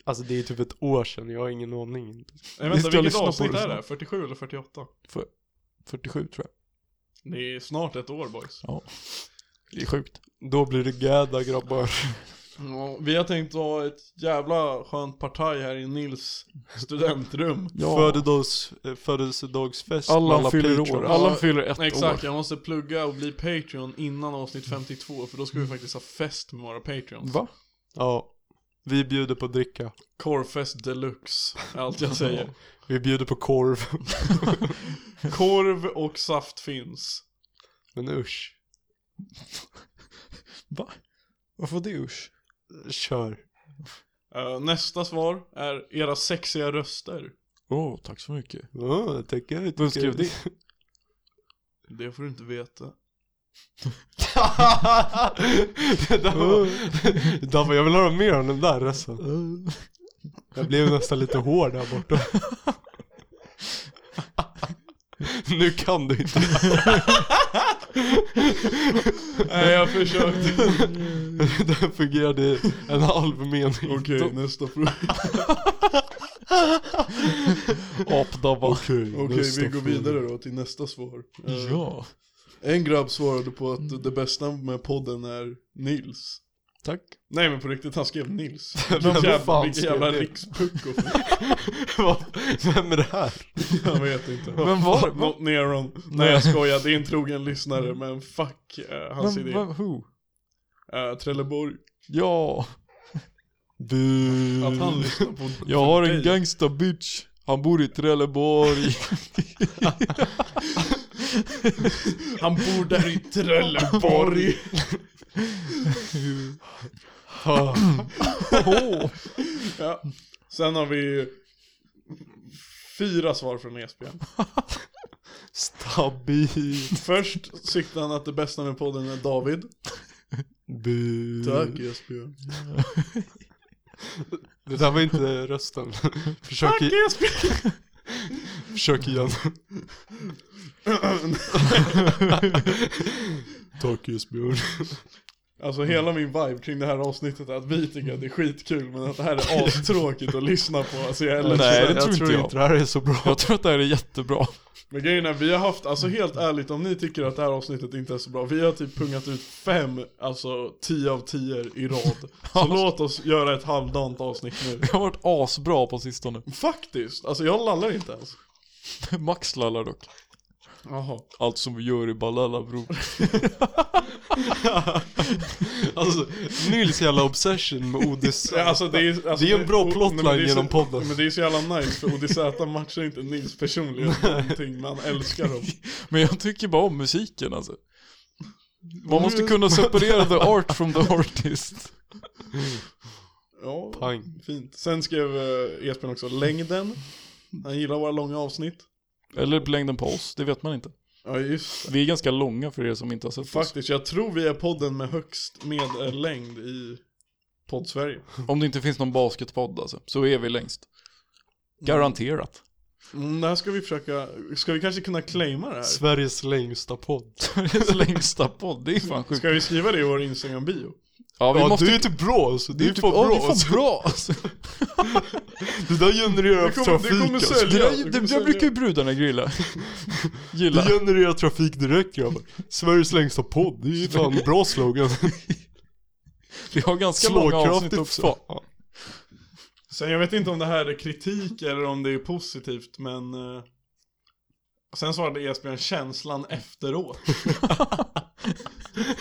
Alltså det är typ ett år sedan, jag har ingen aning.
Nej
Vi ska
vänta, vilket
lyssna på
avsnitt
det
är
snart.
det? 47 eller 48?
47 tror jag.
Det är snart ett år boys.
Det är sjukt.
Då blir det gädda grabbar.
Ja, vi har tänkt ha ett jävla skönt partaj här i Nils *laughs* studentrum.
Ja.
Födelsedags, eh, födelsedagsfest med
Allan fyller
patrons.
år. Allan fyller ett
Exakt,
år.
jag måste plugga och bli Patreon innan avsnitt 52 för då ska vi faktiskt ha fest med våra Patreons.
Va?
Ja. Vi bjuder på dricka.
Korvfest deluxe, är allt *laughs* jag säger.
Vi bjuder på korv.
*laughs*
Korv och saft finns.
Men usch.
Va? Varför det usch?
Kör.
Eh, nästa svar är era sexiga röster.
Åh, oh, tack så mycket.
Ja, jag tänker. jag
Vem
tänker-
skrev det?
Det får du inte veta.
det där var... *laughs* Dabba, jag vill höra mer om den där alltså. Jag blev nästan lite hård där borta. nu kan du inte.
Nej, jag försökte.
det fungerade en halv mening.
Okej, nästa fråga.
Apdabba. Okej,
Okej, vi går vidare då till nästa svar. Eh,
Ja.
En grabb svarade på att det bästa med podden är Nils.
Tack.
Nej men på riktigt, han skrev Nils.
Vem
Vilken jävla,
fan
vilken
skrev
jävla
det?
rikspucko.
Vad- Vem är det här?
Jag vet inte.
Vem var det?
Not near on. Nej jag skojar, det är en trogen lyssnare men fuck eh, hans
Vem,
idé.
vem, who?
Eh, Trelleborg.
Ja.
Att
liksom
han lyssnar *laughs* på
Jag har
dig.
en gangsta bitch. Han bor
*laughs*
i Trelleborg.
Han bor där i Trelleborg. Ja. Sen har vi ju fyra svar från Esbjörn.
Stabil.
Först siktar han att det bästa med podden är David.
Bu.
Tack Esbjörn.
Det där var inte
*laughs*
rösten. Försök, i, försök *laughs* igen. Tack Esbjörn.
Alltså
Mm.
hela min vibe kring det här avsnittet är att vi tycker att det är skitkul men att det här
*laughs*
är astråkigt att lyssna på. Alltså jag är ledsen.
Nej, det
jag
tror inte jag.
inte det här är så bra.
Jag tror att det här är jättebra.
Men grejen är, vi har haft, alltså helt ärligt om ni tycker att det här avsnittet inte är så bra, vi har typ pungat ut fem, alltså tio av tio
*laughs*
i rad. Så låt oss göra ett halvdant avsnitt nu.
Jag har varit asbra på sistone.
Faktiskt, alltså jag lallar inte ens.
Max lallar dock.
Jaha.
Allt som vi gör i Balala
*laughs*
bror.
Alltså, Nils jävla obsession med Odysseus.
Ja, alltså, det, är, alltså,
Det är en bra
o-
plotline
nej, men det är så-
genom podden.
Men det är så jävla nice för Odysseus matchar inte Nils
*laughs*
personligen någonting, men han älskar dem.
Men jag tycker bara om musiken alltså. Man måste kunna separera the art from *laughs* the artist.
Ja,
Pang.
fint. Sen skrev eh, Esbjörn också längden. Han gillar våra långa avsnitt.
Eller längden på oss, det vet man inte.
Ja just det.
Vi är ganska långa för er som inte har sett oss.
Faktiskt, jag tror vi är podden med högst medlängd i podd-Sverige.
Om det inte finns någon basketpodd alltså, så är vi längst. Garanterat. *laughs*
Mm, det här ska vi försöka, ska vi kanske kunna claima det här?
Sveriges längsta podd.
*laughs* Sveriges längsta podd, det är fan sjukt.
Ska vi skriva det i vår Instagram-bio?
Ja, vi
ja,
måste
du är typ bra alltså. Du är
typ-
fan
ja,
bra.
vi är fan
alltså.
bra alltså.
Det där genererar
Det kommer- det kommer
trafik alltså.
sälja.
Det,
Ja,
där,
vi
det,
kommer
där
sälja.
brukar ju brudarna
*laughs*
grilla. Gilla.
Det genererar trafik direkt grabbar. Sveriges längsta podd, det är ju fan en bra slogan.
Vi har ganska många avsnitt
Slagkraftigt
också. *laughs*
också. Ja.
Sen jag vet inte om det här är kritik eller om det är positivt, men... eh, Sen svarade Esbjörn känslan efteråt.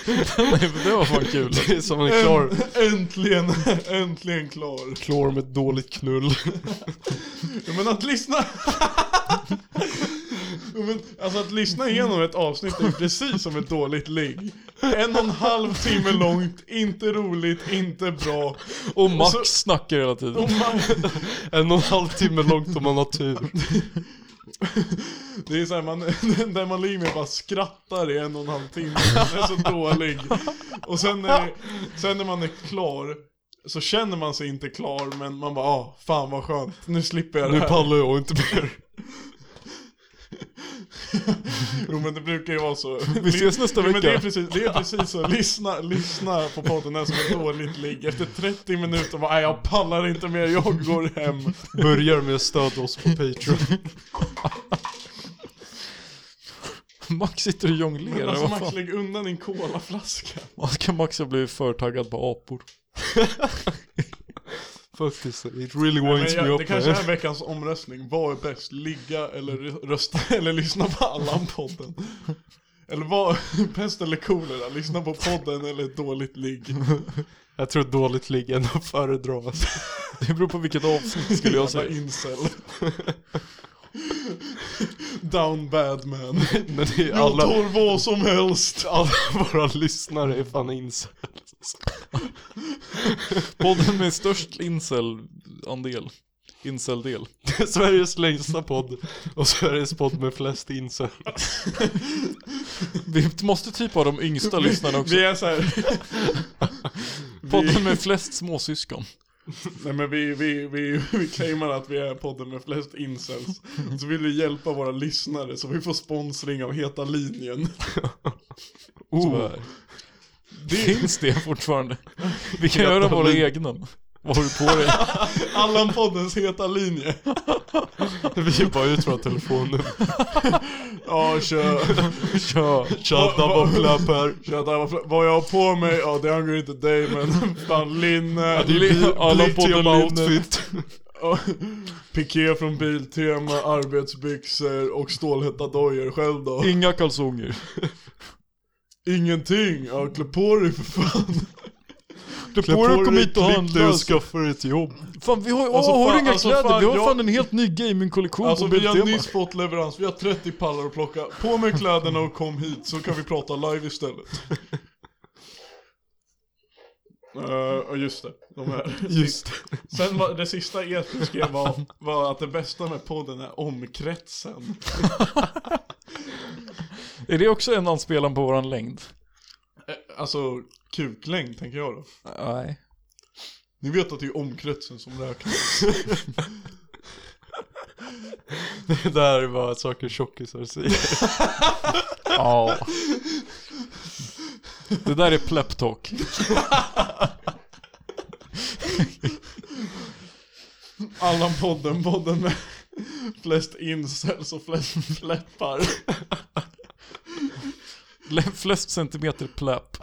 Nej, men det var fan kul.
Det är som en klar,
Eh. Äntligen, *laughs* äntligen klar.
klar med ett dåligt knull.
Ja, men att lyssna... *laughs* Ja, men, alltså att lyssna igenom ett avsnitt är precis som ett dåligt ligg. En och en halv timme långt, inte roligt, inte bra.
Och Max
så-
snackar hela tiden.
Och man,
*laughs* En och en halv timme långt om man har tur.
det är såhär, man, *laughs* där man ligger med bara skrattar i en och en halv timme. Den är så dålig. Och sen när, sen när man är klar så känner man sig inte klar men man bara ah, fan vad skönt, nu slipper jag det
Nu
här.
pallar jag inte
*laughs*
mer.
Jo men det brukar ju vara så.
Vi ses nästa
Jo, Men det, är
vecka.
precis, det är precis så, lyssna, lyssna på podden här som ett dåligt ligg. Efter 30 minuter bara, "Nej, jag pallar inte mer, jag
*laughs*
går hem.
Börjar med att stödja oss på Patreon.
*laughs*
Max sitter och jonglerar.
Alltså
vad
Max,
fan?
lägg undan din colaflaska.
Vad kan Max ha blivit förtaggad på apor?
Faktiskt, it really
Nej, men
winds me
jag,
up.
det kanske
man.
är veckans omröstning, vad är bäst? Ligga eller rösta *laughs* eller lyssna på Allan-podden? Eller vad, *laughs* pest eller kolera? Lyssna på podden eller ett dåligt ligg?
*laughs* Jag tror dåligt ligg är ändå att föredra.
*laughs*
alltså.
Det beror på vilket avsnitt skulle jag
Jävla
*laughs*
säga.
incel. Down bad man.
*laughs* Men det är
Jag
alla,
tar vad som helst.
*laughs* alla våra lyssnare är fan
*laughs*
incel.
Podden med störst incel-andel.
*laughs*
Incel-del.
Det är Sveriges längsta podd och Sveriges podd med flest incel.
Vi måste typ ha de yngsta lyssnarna också.
*laughs* Vi är så här,
Podden med flest småsyskon.
nej men vi, vi, vi, *laughs* vi claimar att vi är podden med flest incels. Så vill vi hjälpa våra lyssnare så vi får sponsring av Heta Linjen.
Oh. Finns det
*laughs*
fortfarande? Vi kan göra våra egna. Vad har du på dig?
Allan-poddens Heta Linje.
Vi är bara ut våra telefoner.
Ja, kör.
Tja.
Tja, dabba, blapp här.
*laughs* kör där. Vad jag har på mig, ja det angår inte dig men *laughs* fan linne.
det är li- alla podden
Lithium
linne.
outfit.
*laughs* Ja, Piké från Biltema, arbetsbyxor och stålhätta dojor. Själv då?
Inga kalsonger.
Ingenting. Ja, klä på dig för fan.
*laughs*
Du
Klä
får kom hit och
klipp dig
handla.
och alltså. skaffa dig ett jobb.
Fan vi har,
Alltså,
åh, har
fan,
du inga
alltså,
kläder?
fan,
vi har
jag-
fan en helt ny gamingkollektion
Alltså
på
vi har
Biltema.
nyss fått leverans, vi har 30 pallar att plocka. På med kläderna och kom hit så kan vi prata live istället. *laughs* Eh, och just det, de här.
Just
Sen var det sista E Esbjörn skrev var, var att det bästa med podden är omkretsen.
Är det också en anspelan på våran längd?
Eh, Alltså kuklängd tänker jag då.
Nej.
Ni vet att det är omkretsen som räknas. *laughs*
det. där är bara saker tjockisar säger.
Ja.
*laughs*
Det där är pleptalk.
Allan-podden, podden med flest incels och flest fläppar.
Flest centimeter pläpp.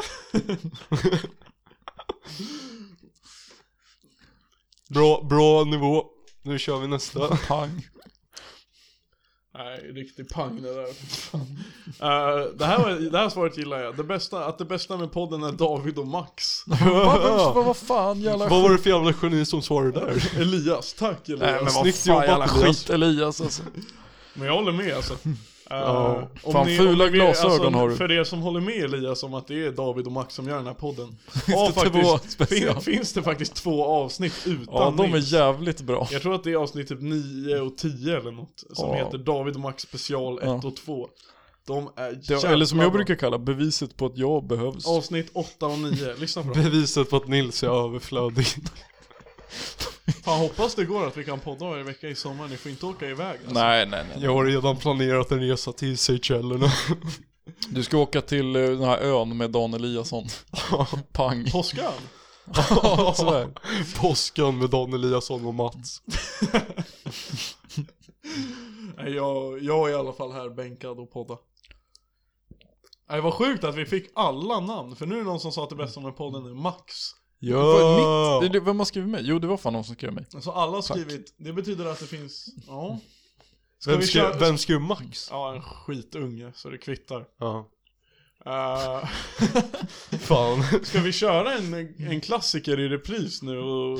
Bra, bra nivå. Nu kör vi
*laughs*
nästa.
Pang.
Nej, riktig pang det där. Eh, det, här var, det här svaret gillar jag. Det bästa, att det bästa med podden är David och Max. *laughs*
Vad vad- vad fan jävla
Vad var det för jävla geni som svarade där?
Elias, tack Elias.
Nej men vad
Snyggt
fan
jobbat,
jävla
Elias.
skit Elias alltså.
Men jag håller med alltså. Uh,
Ja.
Fan, fula glasögon har du.
alltså, För er som håller med Elias om att det är David och Max som gör den här podden.
*laughs* det
Ja,
två
faktiskt.
special?
Fin, finns det faktiskt två avsnitt utan
Ja de är
Nils.
jävligt bra.
Jag tror att det är avsnitt typ 9 och 10 eller något. Som
Ja.
heter David och Max special 1
Ja.
och 2. De är
Det,
jävla
eller som jag
bra.
brukar kalla beviset på att jag behövs.
Avsnitt 8 och 9, lyssna på
*laughs*
dem.
Beviset på att Nils är överflödig.
Fan hoppas det går att vi kan podda varje vecka i sommar, ni får inte åka iväg alltså.
Nej nej nej.
Jag har redan planerat en resa till *laughs* Seychellerna.
Du ska åka till eh, den här ön med Dan Eliasson. Pang. *laughs*
Påskön?
Ja, Sådär.
Påskan med Dan Eliasson och Mats.
Nej jag, jag är i alla fall här bänkad och podda. Nej vad sjukt att vi fick alla namn, för nu är det någon som sa att det bästa med podden är Max.
Vad,
Ja!
mitt, det- vem har skrivit mig? Jo det var fan någon som skrev mig.
Så Alltså, alla har skrivit, det betyder att det finns, ja. Ska
Vem
vi
skrev,
köra?
vem skrev Max?
Ja en skitunge, så det kvittar.
Ja.
Eh, *laughs*
Fan.
ska vi köra en, en klassiker i repris nu och,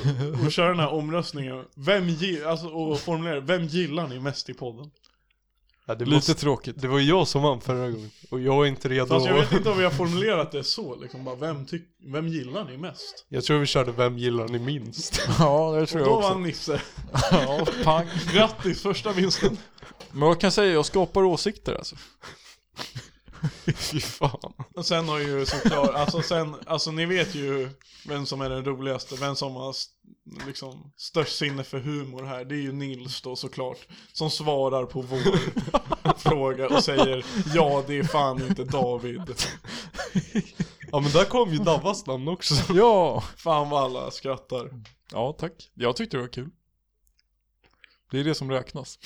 och köra den här omröstningen? Vem, gi- alltså, och formulera, vem gillar ni mest i podden?
Ja, det,
Lite
måste,
tråkigt.
det var ju jag som vann förra gången. Och jag är inte redo.
Fast jag vet inte om vi har formulerat det så, liksom bara vem, tyck, vem gillar ni mest?
*laughs* jag tror vi körde Vem gillar ni minst?
*laughs*
Ja det tror
Och
jag
då
också.
vann Nisse.
Ja, pang.
Grattis, första vinsten.
Men jag kan säga, jag skapar åsikter alltså.
Fy fan.
Och sen har ju såklart, alltså sen, alltså ni vet ju vem som är den roligaste, vem som har st- liksom störst sinne för humor här. Det är ju Nils då såklart, som svarar på vår fråga och säger ja det är fan inte David.
Ja men där kom ju Davvas namn
*laughs*
också.
Ja.
Fan vad alla skrattar.
Ja, tack. Jag tyckte det var kul. Det är det som räknas.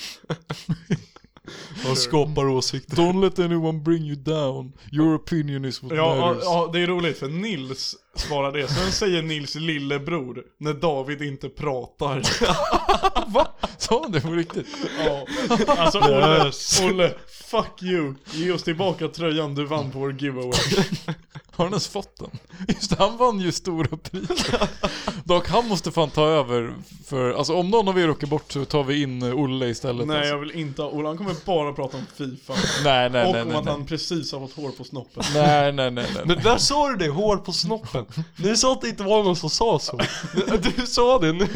Han skapar åsikter.
Don't let anyone bring you down. Your opinion is what
Ja, ja,
matters.
ja, det är roligt för Nils svarar det. Sen säger Nils lillebror när David inte pratar.
Va? Sa han det på riktigt?
Ja. Alltså Olle, Olle, fuck you. Ge oss tillbaka tröjan du vann på vår giveaway.
Har han ens fått den? Just det, han vann ju stora priset. Dock, han måste fan ta över för, alltså om någon av er åker bort så tar vi in eh, Olle istället.
Nej
alltså.
jag vill inte ha Olle, han kommer bara prata om FIFA.
nej, nej,
Och
nej,
om
nej,
att han
nej.
precis har fått hår på snoppen.
Nej, nej, nej, nej.
Men där sa du det, hår på snoppen. Ni sa att det inte var någon som sa
*laughs*
så. Du sa det nu.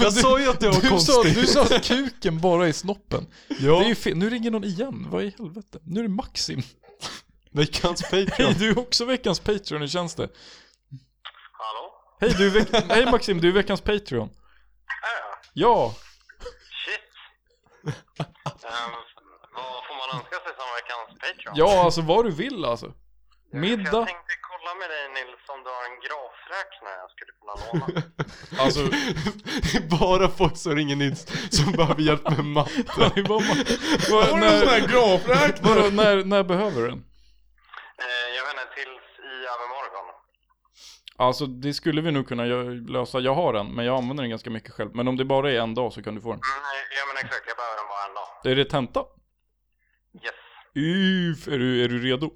Jag sa ju att det var
*laughs* Du sa,
konstigt.
du sa att kuken bara är snoppen.
Ja.
Det är ju fel. Nu ringer någon igen. Vad i helvete? Nu är det Maxim.
Veckans
Hej,
*laughs*
Patreon.
du är också veckans Patreon, hur känns det?
Hallå?
Hej, du är veck- Hej Maxim, du är veckans Patreon.
Äh,
Ja, *laughs*
shit. Ehm, vad får man önska sig som veckans Patreon?
ja alltså vad du vill alltså.
Jag
Middag.
tänkte kolla med dig Nils om du har en grafräknare jag skulle kunna
*laughs*
låna.
Alltså,
Det är bara folk som ringer in som behöver hjälp med matte.
det är bara... Vad-
Har du en sån här
när,
grafräkning?
vadå, när, när behöver du den?
Eh, jag vet inte, tills i övermorgon.
Alltså det skulle vi nog kunna gö- lösa. Jag har den, men jag använder den ganska mycket själv. Men om det bara är en dag så kan du få den.
Mm, ja men exakt, jag behöver den bara en dag.
Är det tenta?
Yes.
Uff, är du, är du redo?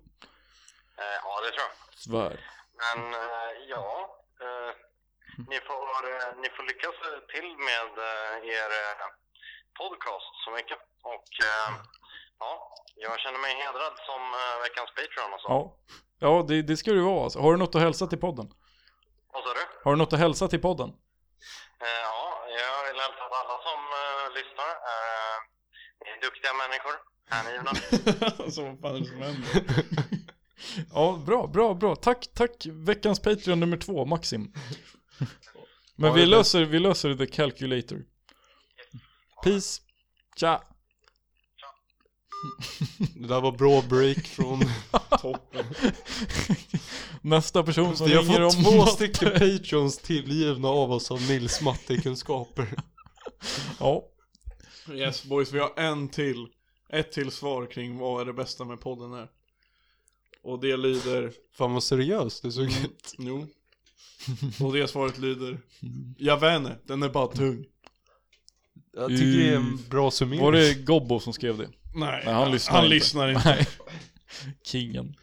Eh, ja, det tror jag.
Svär.
Men eh, ja, eh, ni, får, eh, ni får lyckas eh, till med eh, er eh, podcast så mycket. Och eh, ja, jag känner mig hedrad som eh, veckans Patreon och så.
Ja. Ja, det, det ska du vara alltså. Har du något att hälsa till podden?
Vad sa du?
Har du något att hälsa till podden?
Eh, Ja, jag vill hälsa till alla som eh, lyssnar. Eh, ni är duktiga människor. Hängivna.
alltså vad fan är det som händer?
Ja, bra, bra, bra. Tack, tack. Veckans Patreon nummer två, *laughs* Maxim. Men vi löser, vi löser the calculator. Peace. Tja.
Det där var bra break från...
Toppen.
Nästa person som
jag
ringer om
har fått två
något-
stycken patreons tillgivna av oss av Nils mattekunskaper.
Ja.
Yes boys, vi har en till. Ett till svar kring vad är det bästa med podden här. Och det lyder...
Fan vad seriöst det såg ut.
Jo. Och det
*laughs*
svaret lyder... Jag vet inte, den är bara tung.
Jag tycker det är en bra summering.
Var *laughs* det Gobbo som skrev det?
Nej,
Nej, han lyssnar
han
inte.
lyssnar inte.
Nej. Kingen.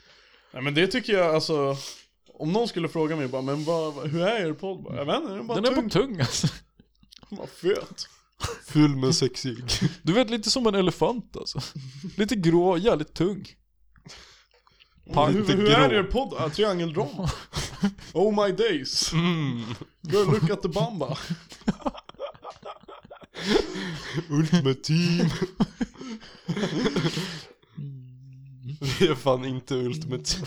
Nej men det tycker jag alltså... Om någon skulle fråga mig bara, men vad, hur är er podd? Bara, Jag vet inte, den är bara
Den
tung.
är på tung alltså.
Vad fet.
Full med sexig.
Du vet lite som en elefant alltså. Lite grå, jävligt tung.
Pan-
Hur,
lite
hur är
grå.
er podd? Ah, triangeldrama. Oh my days.
Mm.
Girl, look at the bamba.
Ultimativ. Vi är fan inte ultimativ.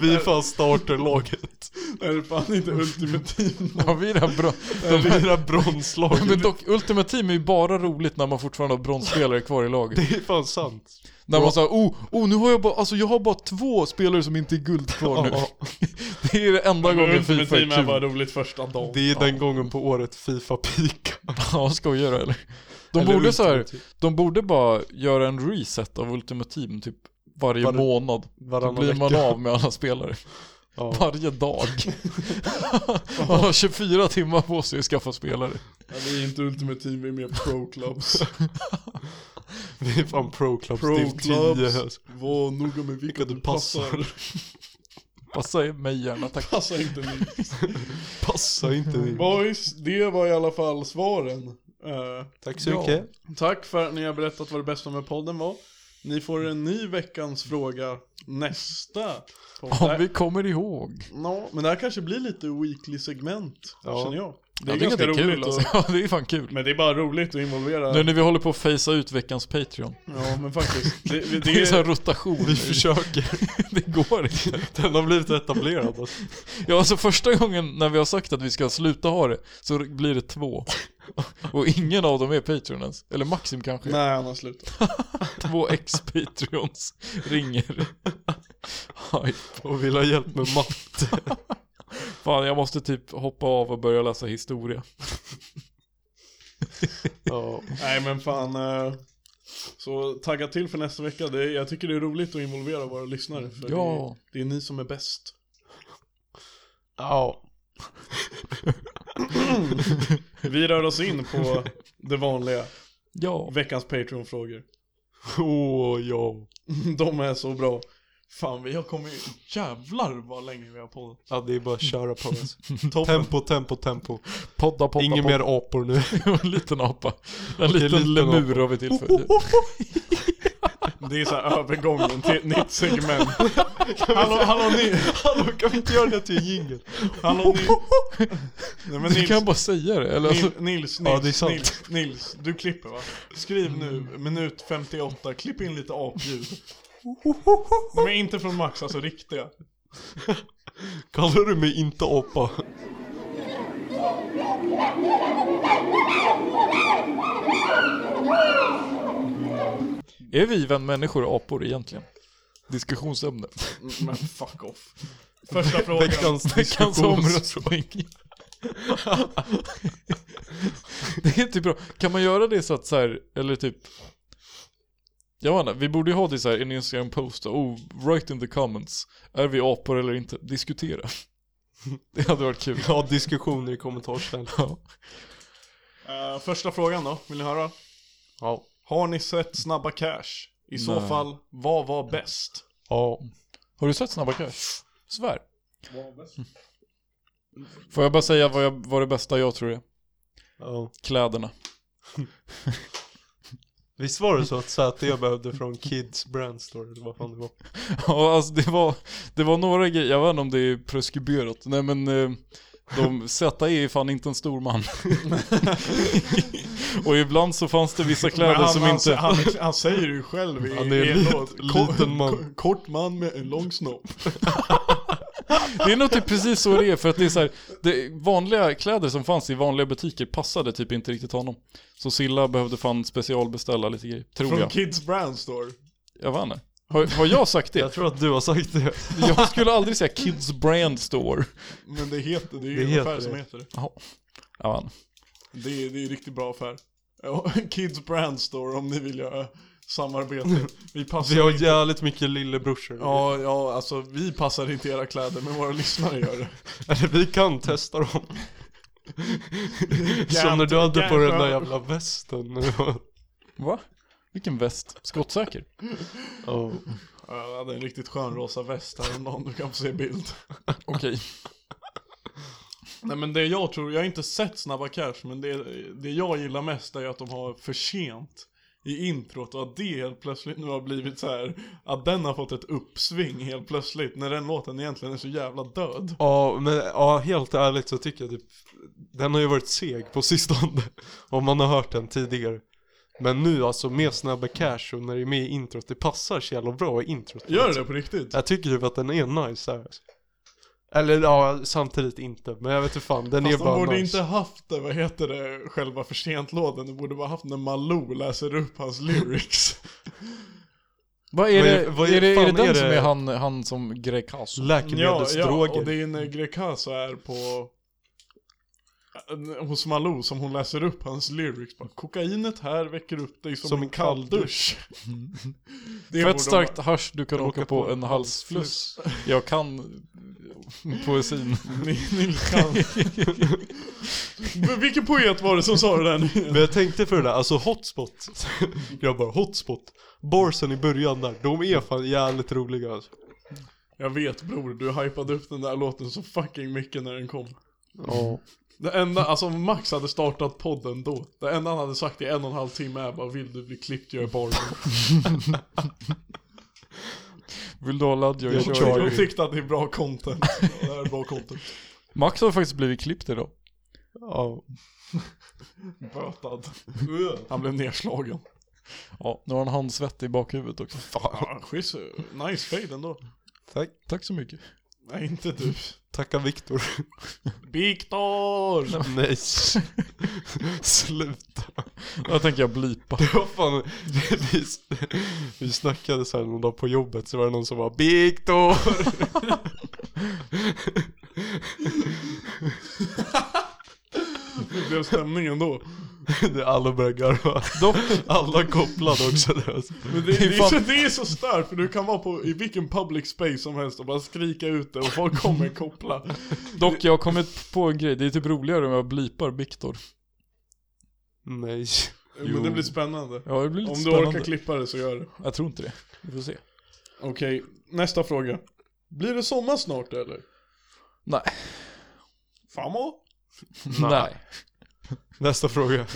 Vi är fan starterlaget.
Det är fan inte ultimativ.
Ja, vi är där bra.
De fyra bronslagen.
Men dock, Ultimate Team är ju bara roligt när man fortfarande har bronsspelare kvar i laget.
Det är fan sant.
När man sa oh, oh, nu har jag bara, alltså jag har bara två spelare som inte är guld kvar nu.
Ja.
*laughs* Det är det enda gången Fifa
Ultimativ
är
är bara
kul.
roligt första dagen.
Det är den gången på året Fifa peak.
Ja, skojar du eller? De
Eller
borde så här,
ultimativ.
de borde bara göra en reset av Ultimate Team typ varje
Var-
månad. Då
Varannan
blir man
vecka.
av med alla spelare.
Ja.
Varje dag. Man har 24 timmar på sig att skaffa spelare.
Ja, vi är inte ultimativ, vi är mer pro clubs.
Vi är fan pro clubs.
Pro
div 10 här.
clubs. Var noga med vilka du passar.
Passa mig gärna tack.
Passa inte ni.
Passa inte in.
Boys, det var i alla fall svaren. Eh,
Tack så mycket.
tack för att ni har berättat vad det bästa med podden var. Ni får en ny veckans fråga nästa. podd.
Om vi kommer ihåg.
Nå, men det här kanske blir lite weekly segment,
Ja.
känner jag. Det
Det
är
är, ja,
ganska
det är
roligt.
kul alltså.
att-
Ja, *laughs* det är fan kul.
Men det är bara roligt att involvera.
Nu när vi håller på att facea ut veckans Patreon.
Ja, men faktiskt. Det, det,
*laughs* Det är så här
är...
rotation.
Vi försöker.
*laughs* Det går inte.
Den har blivit etablerad. Alltså.
Ja, alltså första gången när vi har sagt att vi ska sluta ha det så blir det två. Och ingen av dem är Patreons. Eller Maxim kanske.
Nej, han har slutat.
Två ex-Patreons ringer. Aj,
Och vill ha hjälp med matte.
fan jag måste typ hoppa av och börja läsa historia.
Ja.
Nej, men fan. eh, Så tagga till för nästa vecka. Det är, jag tycker det är roligt att involvera våra lyssnare. För
Ja.
det, det är ni som är bäst.
ja.
Vi rör oss in på det vanliga.
Ja.
Veckans Patreon-frågor.
Åh ja.
*laughs* De är så bra. Fan, vi har kommit... Jävlar vad länge vi har poddat.
Ja det är bara att köra på *laughs* alltså.
Toppen.
Tempo, tempo, tempo.
Podda, podda,
Ingen
podda.
mer apor nu. *laughs*
En liten apa. En liten
liten
lemur har vi tillfört.
Det är så här övergången
*laughs*
till ett nytt segment. Hallå, hallå ni!
Hallå kan vi inte göra det till en jingel?
Hallå
*laughs*
ni! Nej men
Du
Nils,
kan bara säga det. Eller alltså,
Nils, Nils, Nils,
Ja, det är sant.
Nils, Nils, du klipper va? Skriv nu, minut 58, klipp in lite apljud. De är inte från Max, alltså riktiga.
Kallar du mig inte *laughs* apa?
är vi vän människor och apor egentligen? Diskussionsämne.
Men fuck off. Första
*laughs*
frågan.
Veckans
Veckans
diskussions...
omröstning. *laughs* det är typ bra. Kan man göra det så att så här, eller typ jag vet inte, vi borde ju ha det så här i en Instagram post då. oh, write in the comments. Är vi apor eller inte? Diskutera. *laughs* Det hade varit kul.
Ja, diskussioner i kommentarsfältet.
Ja.
Eh, första frågan då, vill ni höra?
Ja.
Har ni sett Snabba Cash? I så
Nej.
fall, vad var bäst?
Ja.
Har du sett Snabba Cash? Svär. Får jag bara säga vad, jag, vad det bästa jag tror är?
ja.
Kläderna.
Visst var det så att säte jag behövde från Kids Brandstore eller vad fan det var?
*laughs* Ja, alltså det var, det var några grejer, jag vet inte om det är preskriberat. Nej men, eh, de Z E är fan inte en stor man. *laughs* och ibland så fanns det vissa kläder
han,
som
han, alltså-
inte...
han, han säger ju
*laughs*
själv i,
Han är
i
en
en
lit-
låt.
liten man.
Kort man med en lång snopp.
Det är nog typ precis så det är, för att det är så här, det, vanliga kläder som fanns i vanliga butiker passade typ inte riktigt honom. Så Silla behövde fan specialbeställa lite grejer, tror
Från
jag.
Kids Brand Store.
Jag vet inte. Har, har jag sagt det?
Jag tror att du har sagt det.
Jag skulle aldrig säga Kids Brand Store.
Men det heter, det är ju
Det
en
heter
affär
det.
som heter det.
Jag vet inte.
Det är, det är en riktigt bra affär. *laughs* Ja, Kids Brand Store om ni vill göra samarbete. Vi
*laughs*
passar
Vi har
inte-
jävligt mycket lillebrorsor.
Ja, ja, alltså vi passar inte era kläder men våra lyssnare gör det.
Eller vi kan testa
*laughs*
dem. Som när du hade på den där jävla västen.
Va? Vilken väst? Skottsäker?
Ja.
Ja, Jag hade en riktigt skön rosa väst häromdagen, du kan få se bild.
Okej.
Nej men det jag tror, jag har inte sett Snabba Cash men det, det jag gillar mest är att de har för sent i introt och att det helt plötsligt nu har blivit så här att den har fått ett uppsving helt plötsligt när den låten egentligen är så jävla död.
*laughs* Ja, men ja, helt ärligt så tycker jag typ Den har ju varit seg på sistone *laughs* Om man har hört den tidigare Men nu alltså med Snabba Cash och när det är med i introt Det passar så jävla bra i introt
Gör det på riktigt?
Jag tycker typ att den är nice här alltså. Eller ja, samtidigt inte Men jag vet inte fan, den
Fast
är
Alltså, de
bara
borde
nice
inte haft det, vad heter det, själva för sent-låten. De borde bara haft när Malou läser upp hans lyrics.
Vad är
Vad är-
det,
vad
är,
är-
det, är
fan
det den
är det-
som är han, han som Grekas?
ja,
Läkemedelsdroger
och det är när Grecaso är på hos Malou som hon läser upp hans lyrics bara, Kokainet här väcker upp dig som,
Som
en
en
kalldusch Det
För
borde
ett starkt hasch du kan
Jag
åka på en halsfluss. *laughs* Jag kan eh,
*laughs*
poesin.
vara- Ni, ni kan. Men Vilken poet var det som sa det där nu?
Men jag tänkte för det där, alltså hotspot *laughs* Grabbar, hotspot Borsen i början där, de är fan jävligt roliga alltså.
Jag vet bror, du hypade upp den där låten så fucking mycket när den kom
Ja
Det enda, alltså om Max hade startat podden då Det enda han hade sagt i en och en halv timme är bara Vill du bli klippt, jag är barber
Vill du ha ladd? Jag
Jag
kör.
kör.
Jag tyckte att det är bra content Det här är bra content
Max har faktiskt blivit klippt idag.
Ja,
Bötad. Han blev nedslagen.
Ja, nu har han handsvett i bakhuvudet också. *laughs*
Ja, schysst. Nice fade ändå.
tack
Tack så mycket.
Nej, inte du.
Tacka Viktor *laughs*
Viktor!
Nej. Sluta.
Jag tänker jag blipa.
Vad fan. *laughs* Vi, vi snackade så här någon dag på jobbet så var det någon som var Viktor. *laughs*
Det blev
*laughs*
stämningen då.
Det- Alla började garva.
Dock,
Alla kopplade också. där, alltså.
Men det, det,
är
är
fan-
så, det är så stört, för du kan vara på, i vilken public space som helst och bara skrika ut det och folk kommer koppla.
dock, jag har kommit på en grej. Det är typ roligare om jag blipar Viktor.
Nej.
Men det blir spännande.
Ja, det blir lite
Om du
spännande.
orkar klippa det så gör det.
Jag tror inte det. Vi får se.
Okej, nästa fråga. Blir det sommar snart eller?
Nej.
Famo?
Nej.
Nästa fråga.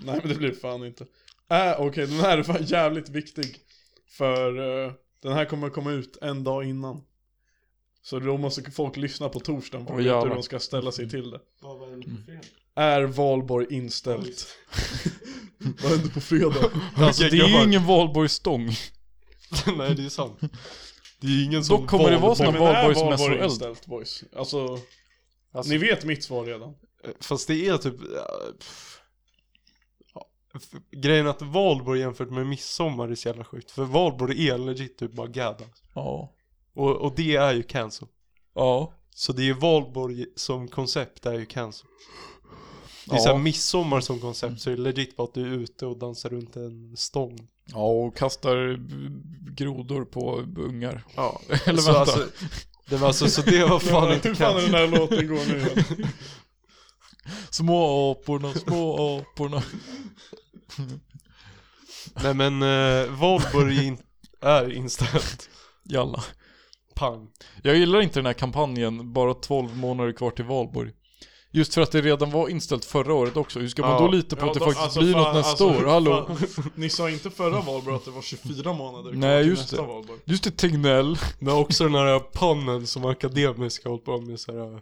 Nej men det blir fan inte. Äh, Okej, den här är fan jävligt viktig. För eh, den här kommer komma ut en dag innan. Så då måste folk lyssna på torsdagen för
Åh,
att veta hur
jävlar.
de ska ställa sig till det. Är valborg inställt? *laughs* Vad hände på fredag?
Alltså, det
Vilka
är ju
grabbar.
ingen valborgsstång.
*laughs* Nej det är sant. Det är ju ingen som
Dock kommer det vara
Nej,
såna
men är valborg
valborgsmässoeld.
inställt boys? Alltså,
Alltså-
ni vet mitt svar redan.
Fast det är typ... ja, pff. Ja, f- Grejen att valborg jämfört med midsommar är så jävla sjukt. För valborg är legit typ bara gadda.
Ja.
Och, och det är ju cancel.
Ja.
Så det är ju valborg som koncept är ju cancer. Det är
Ja.
såhär midsommar som koncept så det är legit bara att du är ute och dansar runt en stång.
Ja, och kastar b- grodor på ungar. *laughs*
Ja.
Eller
så
vänta.
alltså, det var alltså, så det var fan inte
Hur fan är den
cancer.
här låten går nu igen?
Små aporna, små aporna. *laughs*
Nej men eh, valborg är in, är inställt.
Jalla.
Pang.
Jag gillar inte den här kampanjen, bara 12 månader kvar till valborg. Just för att det redan var inställt förra året också. Hur ska man
Ja.
då lita på
Ja,
att det
då-
faktiskt
alltså,
blir
fan,
något nästa
alltså,
år? Hallå?
fan, Ni sa inte förra valborg att det var 24 månader kvar
Nej,
till
just
nästa
det.
valborg.
Just det, Tegnell.
Men också den här pannen som akademiska hållit på med såhär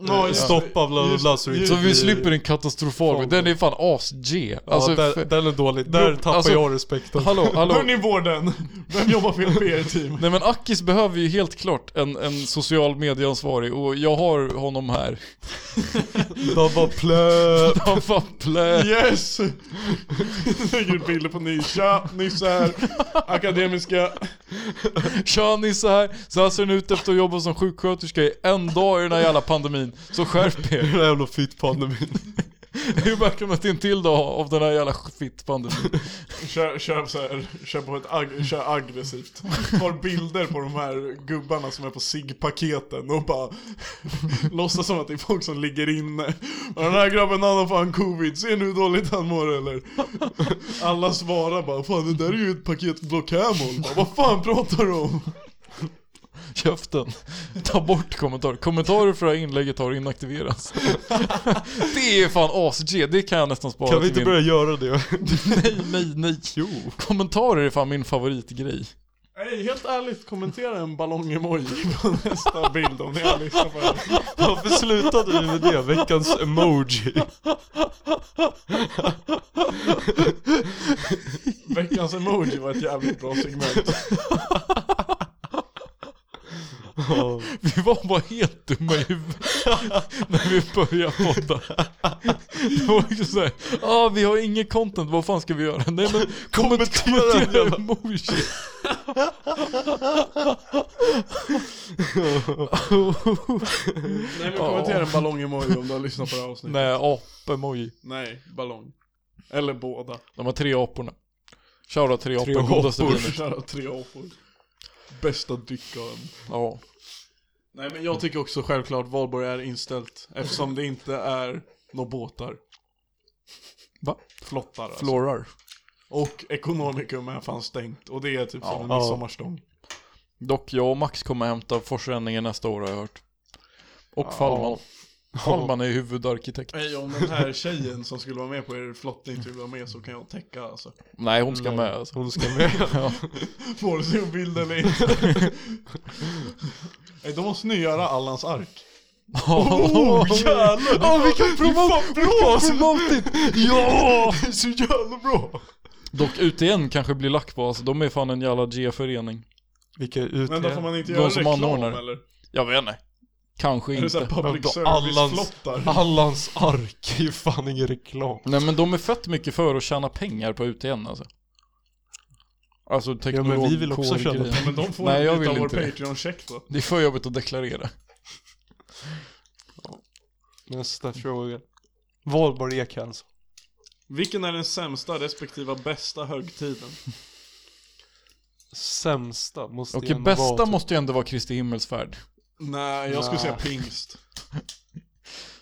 Ja, ja.
Stoppa bla bla
Just-
bla så det inte
Så vi
blir-
slipper en katastrofal. Den är fan as-G. Alltså,
ja,
för-
den, den är dålig, där
Bro,
tappar
alltså-
jag respekten
hallå, hallå.
Hörni vården, vem jobbar fel på er team?
Nej men Akis behöver ju helt klart en, en social medieansvarig och jag har honom här.
De bara plö...
*laughs* Han fan plä.
Yes! Lägger ut bilder på Nisha, Nisse akademiska.
Tja Nisse här, så här ser den ut efter att jobba som sjuksköterska i en dag i den här jävla pandemin. Så skärp er.
Den här jävla fittpandemin
*laughs* Hur välkomna till en till dag av den här jävla fittpandemin.
Kör, kör så här, kör på ett ag kör aggressivt. Tar bilder på de här gubbarna som är på SIG-paketen och bara *laughs* låtsas som att det är folk som ligger inne. Och den här grabben han har fan covid, ser nu hur dåligt han mår eller? Alla svarar bara fan det där är ju ett paket Block Camel. Bara, Vad fan pratar du om?
Köften. Ta bort kommentarer. Kommentarer för det här inlägget har inaktiverats. *laughs* Det är fan as-G, det kan jag nästan spara
Kan vi
till
inte
min-
börja göra det?
Nej, nej, nej. *laughs* Jo. Kommentarer är fan min favoritgrej.
Nej, helt ärligt, kommentera en ballong-emoji på nästa bild om ni har lyssnat på det här.
Varför slutade vi med det? Veckans emoji
Veckans emoji var ett jävligt bra segment.
Ja.
Vi var bara helt dumma i huvudet *laughs* när vi började podda. Det var ju såhär, ah, vi har ingen content, vad fan ska vi göra? Nej men *laughs* kommentera, kommentera emoji.
Nej men kommentera en ballong-emoji om du har lyssnat på det här avsnittet.
Nej, ap-emoji.
Nej, ballong. Eller båda.
De har tre aporna. Shoutout tre apor,
Tre
godaste
apor.
vinet.
Kära tre apor. Bästa dryckaren.
Ja.
Nej men jag tycker också självklart valborg är inställt eftersom det inte är några båtar.
Va?
Flottar alltså.
Florar.
Och Economicum är fan stängt och det är typ som en
Ja.
midsommarstång.
Dock, jag och Max kommer hämta forslänningen nästa år har jag hört. Och Fallman. Fallman är huvudarkitekt.
Nej, om den här tjejen som skulle vara med på er flottning skulle vara med så kan jag täcka alltså.
Nej, hon ska med alltså.
Hon ska med
*laughs* Ja.
Får du se en bild eller inte?
*laughs*
Nej, då måste ni göra Allans ark.
Oh,
*laughs*
jävlar! Ja, vi kan promote, vi kan promote it! *laughs* Ja!
Det är så jävla bra!
Dock UTN kanske blir lack på, alltså de är fan en jävla G-förening.
Vilka ut
Men då får man inte
De
göra
som
reklam
anordnar.
eller?
Jag vet inte. Kanske
Är det såhär
inte.
public
Då Allans-
service-flottar?
Allans ark är ju fan ingen reklam
Nej men de är fett mycket för att tjäna pengar på UTN alltså. Alltså
men
teknolog
vi vill också
kår-
tjäna
grejer.
Men de får
Nej,
Nej,
jag
jag
vill
av vår
inte det.
Patreon-check då.
Det är för jobbigt att deklarera.
Nästa fråga Valborg Ekhals
Vilken är den sämsta respektive bästa högtiden?
Sämsta måste
Okej,
ju ändå vara
bästa
typ-
måste ju ändå vara Kristi himmelsfärd.
Nej, jag skulle
Nä.
säga pingst.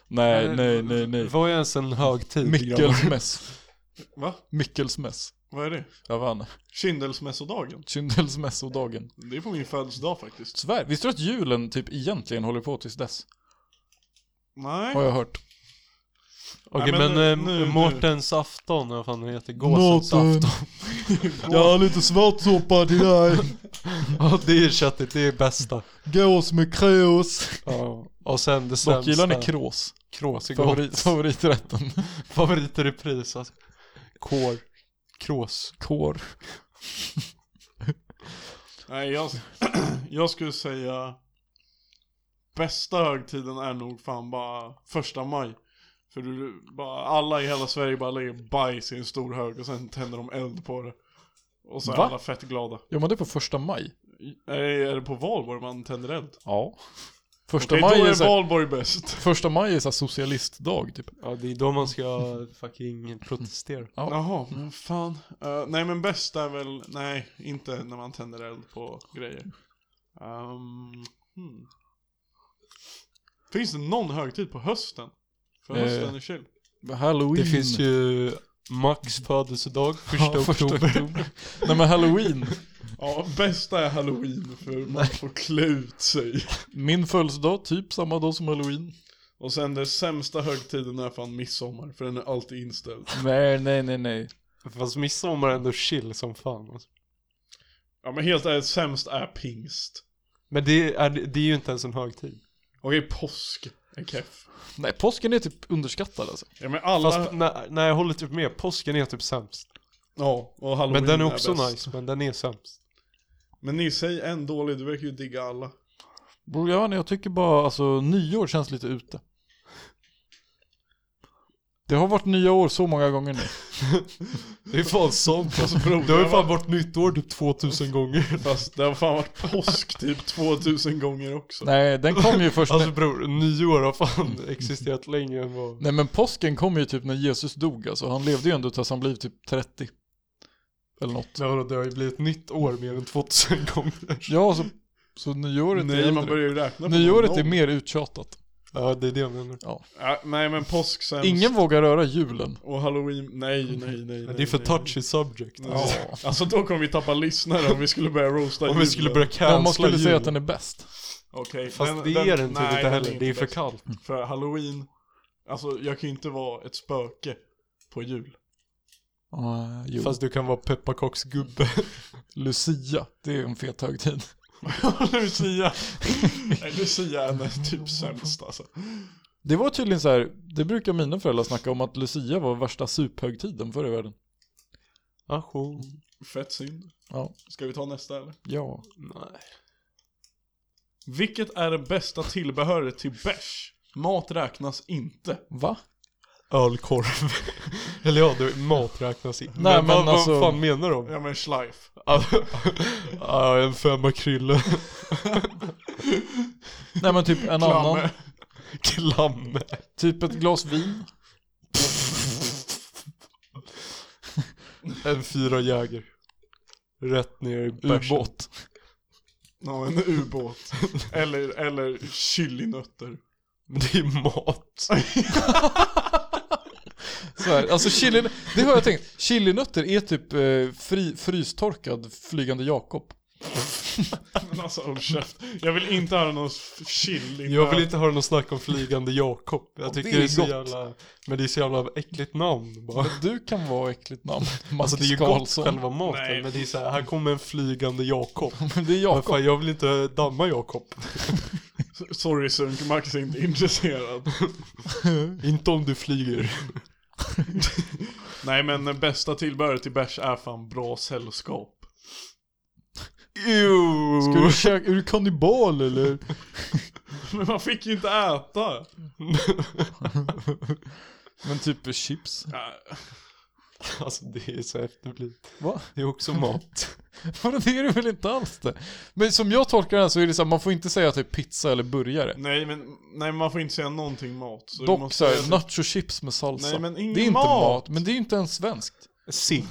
Nej, nej, nej, nej.
Vad är ens en högtid? grabbar?
Mickelsmäss.
Va?
Mickelsmäss.
Vad är det?
Jag vet inte.
Kindelsmässodagen.
Kyndelsmässodagen.
Det är på min födelsedag faktiskt.
Svär, visste du att julen typ egentligen håller på tills dess?
Nej.
Har jag hört.
Okej
Nej, men
men,
nu-
men eh,
nu- nu.
Mårtens afton, vad fan den heter? Gåsens *laughs* afton
Jag har lite svartsoppa till dig.
Ja det är köttigt, det är bästa
Gås med krås.
Ja, och sen det sämsta
Dock gillar ni krås.
Krås är
Favorit,
gott.
*laughs* favoriträtten.
Favorit i repris alltså Kår Krås
Kår.
Nej, jag, *clears throat* jag skulle säga... Bästa högtiden är nog fan bara första maj. För du, bara, alla i hela Sverige bara lägger bajs i en stor hög och sen tänder de eld på det. Och så är
Va?
alla fett glada.
Gör man det på första maj?
Nej, är det på valborg man tänder eld?
Ja. Första
Okej,
maj
då
är
är
så här,
valborg bäst.
första maj är så här socialistdag typ.
Ja det är då man ska *laughs* fucking protestera
Ja.
Jaha, men Mm, fan. Eh, nej men bäst är väl, nej inte när man tänder eld på grejer. Ehm, hmm. Finns det någon högtid på hösten? För
Eh,
hösten är chill.
Det
Halloween.
finns ju Max *laughs* födelsedag, första
Ja, första
oktober
oktober. *laughs* Nej men halloween.
Ja, bästa är halloween för man får klä ut sig.
Min födelsedag, typ samma dag som halloween.
Och sen den sämsta högtiden är fan midsommar, för den är alltid inställd.
Nej, nej, nej, nej.
Fast midsommar är ändå chill som fan. Alltså.
Ja men helt ärligt, sämst är pingst.
Men det är, det är ju inte ens en högtid.
Okej, påsk är keff.
Nej, påsken är typ underskattad alltså.
Ja men alla...
Fast nej, nej, jag håller typ med. Påsken är typ sämst.
Ja, och halloween
Men den är också
bäst.
nice, men den är sämst.
Men ni säger en dålig, du verkar ju digga alla.
Bror, jag, vet inte, jag tycker bara alltså nyår känns lite ute. Det har varit nya år så många gånger nu.
Det är fan sånt alltså.
Bror,
Det har ju fan varit nytt år typ 2000 *laughs* gånger.
Fast det har fan varit påsk typ 2000 gånger också.
Nej, den kom ju först
Alltså
när...
bror, nyår har fan existerat längre än vad...
Nej men påsken kom ju typ när Jesus dog alltså. Han levde ju ändå tills han blev typ 30. Eller något.
Men vadå, det har ju blivit nytt år mer än 2000 gånger.
Ja, så, så nyåret är
Nej, man börjar ju räkna på
Nyåret
noll.
är mer uttjatat.
Ja, det är det jag menar.
Ja, nej men påsk sämst.
Ingen vågar röra julen.
Och halloween, nej nej nej. nej
Men det är för
nej.
touchy subject.
Ja. Alltså då kommer vi tappa lyssnare om vi skulle börja roasta
Om vi
julen.
skulle börja
Men
cancella
man skulle säga
jul.
att den är bäst.
Okej.
Fast det är den typ
nej,
inte heller,
inte
det är för
bäst.
kallt.
För halloween, alltså jag kan ju inte vara ett spöke på jul.
Uh, jul.
Fast du kan vara *laughs* pepparkaksgubbe.
*laughs* Lucia, det är en fet högtid.
*laughs* Lucia. nej Lucia
*laughs*
är näst- typ sämst alltså.
Det var tydligen så här, det brukar mina föräldrar snacka om att Lucia var värsta suphögtiden förr i världen.
Ajo.
Fett synd.
Ja.
Ska vi ta nästa eller?
Ja.
Nej.
Vilket är det bästa tillbehöret till bärs? Mat räknas inte.
Va?
Ölkorv. *laughs* Eller ja, det, mat räknas in.
Nej, men
vad,
alltså-
vad fan menar de?
Ja men schleif.
*laughs* Ja, en femma krylle.
*laughs* Nej men typ en annan,
Klamme.
*laughs* Klamme.
typ ett glas vin.
*laughs* En fyra jäger. Rätt ner i bärsen.
Ubåt.
Ja en ubåt. eller, eller chilinötter.
Men det är ju mat.
Så här, alltså chili, det har jag tänkt. Chilinötter är typ eh, fri, frystorkad flygande Jakob.
Men alltså håll käft. Jag vill inte höra någon f- chili.
Jag vill inte höra någon snack om flygande Jakob. Jag tycker
det är
det är, så
gott.
jävla... Men det är så jävla äckligt namn bara.
Men du kan vara äckligt namn.
Alltså
Marcus
det är ju gott
Karlsson.
själva maten,
Nej.
men det är så här, här kommer en flygande Jakob.
Men det är
Men
Jakob.
fan, jag vill inte damma Jakob.
Sorry Sunk, Max är inte intresserad.
inte om du flyger. *laughs*
Nej men det bästa tillbehöret till bärs är fan bra sällskap.
Ew.
Ska du käka, är du kannibal eller?
Men man fick ju inte äta.
Men typ chips.
Ja,
Alltså det är så efterblivet.
Va?
Det är också
*laughs*
mat.
Vadå, det är det väl inte alls det? Men som jag tolkar den så är det så här, man får inte säga typ pizza eller burgare.
Nej men, nej men man får inte säga någonting mat. Så du
Dock
måste
såhär,
säga-
nachochips med salsa.
Nej, men ingen
det är inte
mat.
mat, men det är ju inte ens svenskt.
Sig.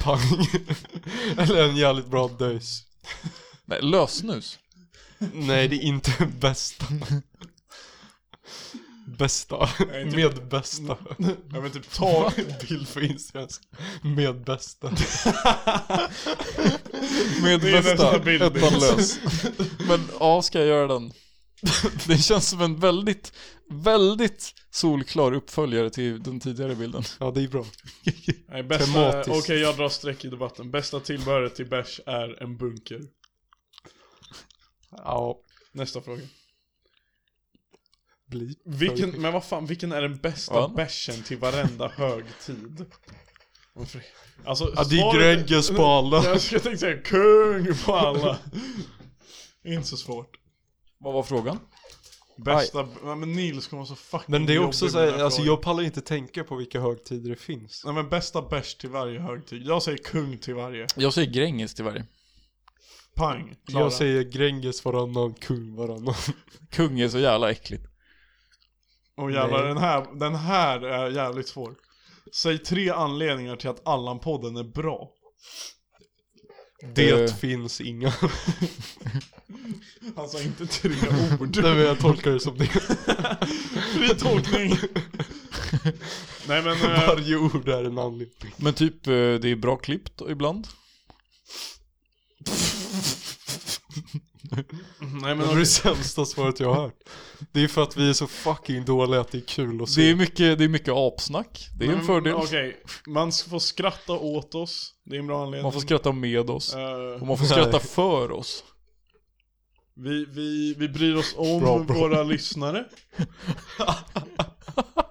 Pang. *laughs* Eller en jävligt bra döjs.
Nej, lösnus.
Nej det är inte *laughs* den bästa. Bästa.
Nej, typ-
Med
*laughs*
bästa.
Ja men typ ta...
*laughs* Bild för Instagram. Med bästa.
Med
Det är
bästa,
nästa bild.
ettan lös. *laughs* Men ja, ska jag göra den? *laughs* Det känns som en väldigt, väldigt solklar uppföljare till den tidigare bilden.
Ja det är bra.
Nej bästa...
Tematiskt.
Okej jag drar streck i debatten. Bästa tillbehöret till bärs är en bunker.
Ja.
Nästa fråga.
Bli.
Vilken, men vad fan, vilken är den bästa
Ja.
bärsen till varenda högtid? Varför? Alltså,
Ja det är
svaret-
Gregges på alla.
*laughs* Jag skulle tänka säga kung på alla. Inte så svårt.
Vad var frågan?
Bästa, nej men Nils kommer vara så fucking
Men det är också
jobbig
så
med den
här, alltså
frågan.
jag pallar inte tänka på vilka högtider det finns.
Nej men bästa bärs till varje högtid. Jag säger kung till varje.
Jag säger Gränges till varje.
Pang, Klara.
Jag säger Gränges varannan, kung varannan.
Kung är så jävla äckligt.
Och jävlar,
Nej.
den här, den här är jävligt svår. Säg tre anledningar till att Allan-podden är bra.
Det
Eh.
finns inga.
Han sa inte tre
*laughs*
ord.
Nej men jag tolkar det som det.
Fri tolkning.
*laughs*
Nej men, eh,
Varje ord är en anledning.
Men typ, eh, det är bra klippt ibland.
Nej
Det
men
var det sämsta svaret jag har hört. Det är för att vi är så fucking dåliga att det är kul att se.
Det är mycket, det är mycket apsnack. Det är
Nej,
en
men,
fördel.
Mm, Okej, man får skratta åt oss. Det är en bra anledning.
Man får skratta med oss.
Eh,
Och man får skratta för oss.
vi, vi, vi bryr oss om
Bra, bra.
*laughs*
våra lyssnare.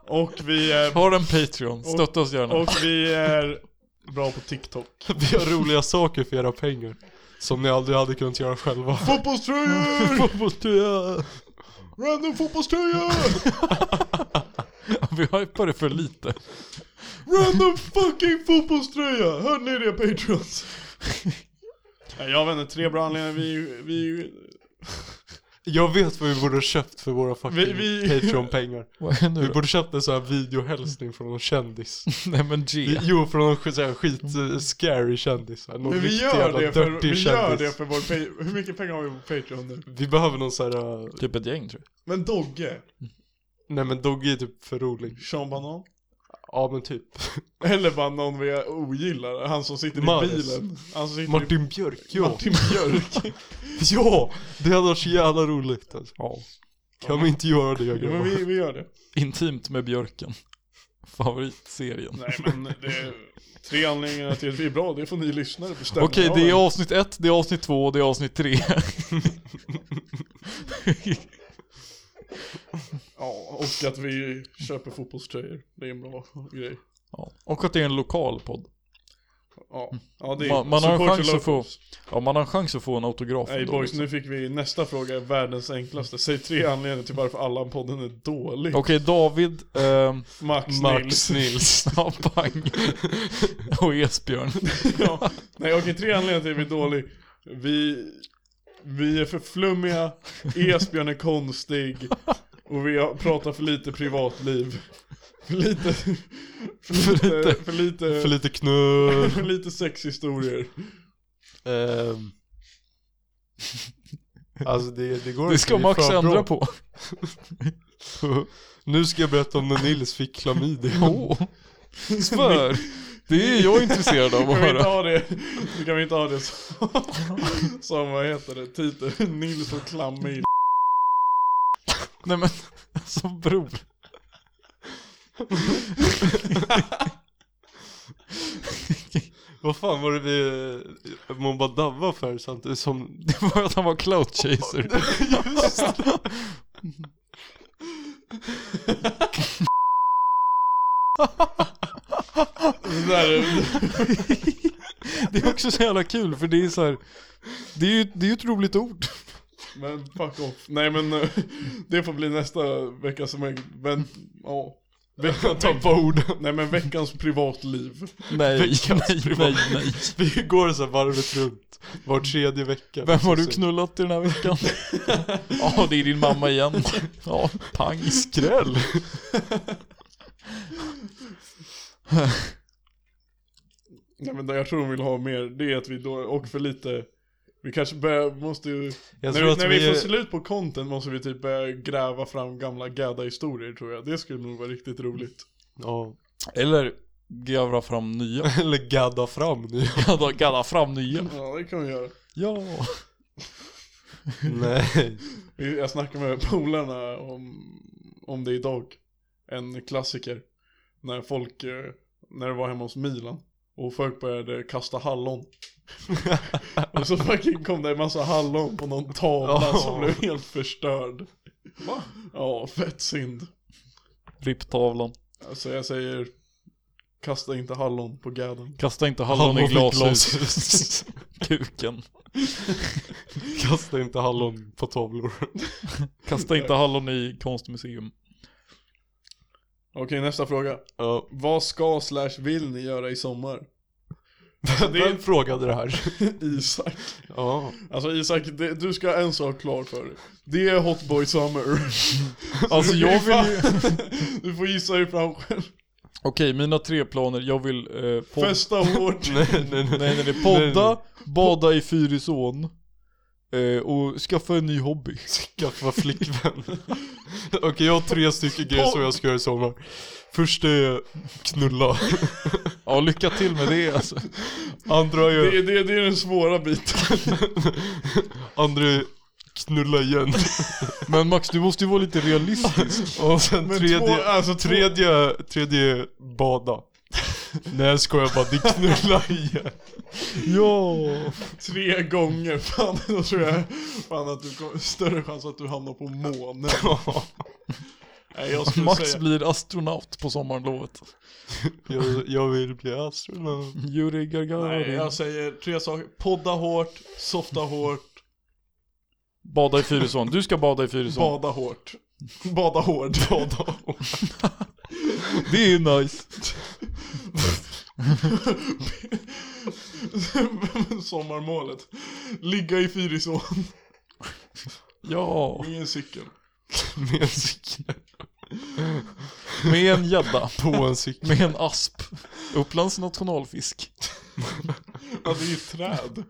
och vi är,
Har en Patreon, stötta oss gärna.
och vi är bra på TikTok.
*laughs*
Vi har roliga saker för era pengar. Som ni aldrig hade kunnat göra själva.
*laughs*
Fotbollströjor!
Fotbollströja!
Random fotbollströjor!
*laughs* Vi hypar det för lite.
*laughs* Random fucking fotbollströja! Hörde ni det Patreons? Nej, Jag vet inte, tre bra anledningar. Vi, vi,
Jag vet vad vi borde ha köpt för våra fucking
Vi- vi-
Patreon-pengar.
Vad är
Vi
nu då?
borde köpt en sån här videohälsning från någon kändis.
*laughs* Nej men G.
Vi- Jo, från någon sk- sån här skit eh, scary kändis. Någon
men vi
riktig
gör
jävla
det för,
dirty
vi gör
kändis.
det för vår pa- Hur mycket pengar har vi på Patreon nu?
Vi behöver någon sån här... eh,
Typ ett gäng tror jag.
Men Dogge?
Nej men Dogge är typ för rolig.
Sean Banan?
Ja men typ.
Eller bara någon vi ogillar, han som sitter
Maris.
i bilen. Han som sitter i...
Martin Björk, ja.
Martin Björk.
*laughs* Ja! Det hade varit så jävla roligt alltså.
Ja.
Kan vi inte göra det
ja, men
grabbar?
vi, vi gör det.
Intimt med björken. Favoritserien.
Nej men det är tre anledningar till att vi är bra, det får ni lyssnare bestämma.
Okej,
Ja,
det är
men-
avsnitt ett, det är avsnitt två och det är avsnitt tre. *laughs*
Ja, och att vi köper fotbollströjor. Det är en bra grej.
Ja. Och att det är en lokal podd.
Ja, ja det är
Man- man har en
support
chans
your
att få-
locals.
Ja, man har en chans att få en autograf.
Nej
ändå,
boys,
liksom.
nu fick vi nästa fråga, världens enklaste. Säg tre anledningar till varför Allan-podden är dålig.
Okej, David, ehm,
Max,
Max
Max Nils.
Nils, *laughs* ja,
*laughs*
pang. och Esbjörn.
ja. Nej okej, tre anledningar till att vi är dålig. Vi, vi är för flummiga, Esbjörn är konstig och vi har- pratar för lite privatliv. För lite, för lite, för lite,
För lite knull.
*laughs* för lite sexhistorier.
Ehm. Alltså det, det går
Det
inte,
ska
vi är
Max
för bra.
ändra
*laughs*
på.
Nu ska jag berätta om när Nils fick
*laughs*
klamydia.
Åh, svär. Det är jag intresserad av att
Kan vi inte
höra.
ha det? Kan vi inte ha det som, som vad heter det, titel? Nils och Klammig.
Nej men, alltså bror.
Vad fan var det vi eh, Mobadava för samtidigt som...
Det var att han var cloud chaser.
Det där är-
Det är också så jävla kul för det är så här. Det är ju det är ju ett roligt ord.
Men fuck off. Nej men eh, *laughs* det får bli nästa vecka som är, men,
*laughs*
ja. Veckan, tappa orden. *laughs* Nej men veckans privatliv.
Nej, nej, nej, nej.
*laughs* Vi går så här varvet runt. Var tredje vecka.
Vem har du knullat i den här *laughs* veckan? Ja, det är din mamma *laughs* igen. Ja, pang. Skräll.
Nej men det jag tror de vill ha mer, det är att vi då, och för lite, vi kanske börjar, måste ju,
Jag
när,
tror
vi,
att
när vi,
vi
får
är-
slut på content måste vi typ börja gräva fram gamla gadda-historier tror jag. Det skulle nog vara riktigt roligt.
Ja.
Eller gräva fram nya.
Eller gadda fram nu.
Gadda, gadda fram nya.
Ja det kan vi göra.
Ja.
Nej.
Vi- Jag snackade med polarna om, om det idag. En klassiker. När folk, eh, när det var hemma hos Milan. Och folk började kasta
*laughs*
hallon. och så fucking kom det en massa hallon på någon tavla som blev helt förstörd. Va? Ja, fett synd.
Ripptavlan.
Alltså jag säger, kasta inte hallon på gadden.
Kasta inte hallon i
Hallon i
glashus. Kuken.
*laughs* Kasta inte hallon på tavlor.
Kasta inte hallon i konstmuseum.
Okej, nästa fråga.
Ja.
Vad ska slash vill ni göra i sommar?
Vem frågade det här?
*laughs* Isak.
Ja.
Alltså Isak, det, du ska ha en sak klar för dig. Det är Hot Boy Summer.
Alltså jag vill *laughs* ju...
Du får gissa dig fram själv.
Okej, mina tre planer. Jag vill eh, pod...
*laughs* Festa hårt.
Nej, nej, nej.
Nej, nej, nej. Podda, bada i Fyrisån eh, och skaffa en ny hobby.
Skaffa flickvän. *laughs* Okej, jag har tre stycken grejer som jag ska göra i sommar. Först är knulla.
*laughs* Ja, lycka till med det alltså.
Andra är...
Det, är- det, är- det är den svåra biten.
*laughs* Andra är knulla igen.
*laughs* Men Max, du måste ju vara lite
*laughs*
realistisk.
Och sen
Men
tredje,
två- alltså två-
tredje, tredje bada. Nej jag skojar bara, det är knulla igen.
ja!
Tre gånger, *laughs* fan då tror jag fan att du kommer, större chans att du hamnar på månen. Nej, jag skulle
Max
säga,
blir astronaut på sommarlovet.
Jag, jag vill bli astronaut.
Yuri
nej, alltså-
Gagarin.
jag säger tre saker. Podda hårt, softa hårt,
Bada i Fyrisån. Du ska bada i Fyrisån.
bada hårt. Bada
*laughs*
hårt. Bada hårt.
det är nice.
*laughs* Sommarmålet. Ligga i Fyrisån.
Ja.
Ingen cykel.
Med en cykel.
Med en gädda.
På en cykel.
Med en asp. Upplands nationalfisk.
Ja, det är ju ett träd.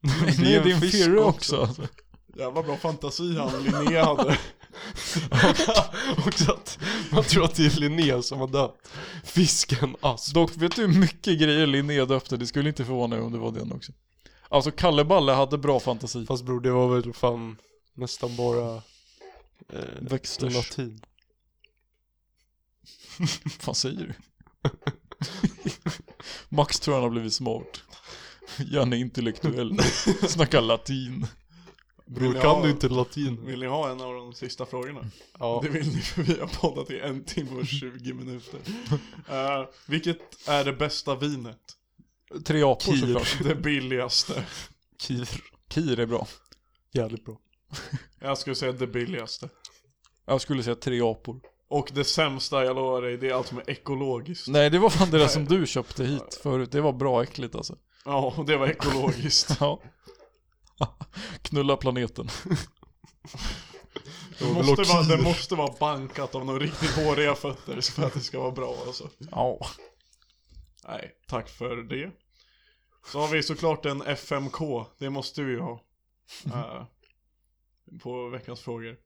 Nej,
det är en
det är en
fisk
firre
också.
också.
Jävla bra fantasi han
*laughs*
Linnea hade.
Också att man tror att det är Linné som har dött. Fisken asp.
Dock vet du hur mycket grejer Linné döpte? Det skulle inte förvåna mig om det var den också. Alltså Kalle Balle hade bra fantasi.
Fast bror det var väl fan nästan bara eh,
Växters.
latin.
Vad säger du? Max tror han har blivit smart. Janne är intellektuell. Snackar latin.
Bror
Vill jag-
kan du inte latin?
Vill ni ha en av de sista frågorna?
Ja.
Det vill ni för vi har poddat i en timme och 20 minuter. Eh, vilket är det bästa vinet?
*laughs* Tre apor
Kir.
såklart.
Det billigaste.
Kir.
Kir är bra.
Jävligt bra.
Jag skulle säga det billigaste.
Jag skulle säga tre apor.
Och det sämsta, jag lovar dig, det är allt som är ekologiskt.
Nej det var fan det där som du köpte hit förut. Det var bra äckligt alltså.
Ja, och det var ekologiskt.
*laughs* Ja. *laughs* Knulla planeten.
Det måste, vara, det måste vara bankat av några riktigt håriga fötter för att det ska vara bra alltså.
Ja.
Nej, tack för det. Så har vi såklart en FMK, det måste vi
*laughs*
ju ha. Eh, på veckans frågor.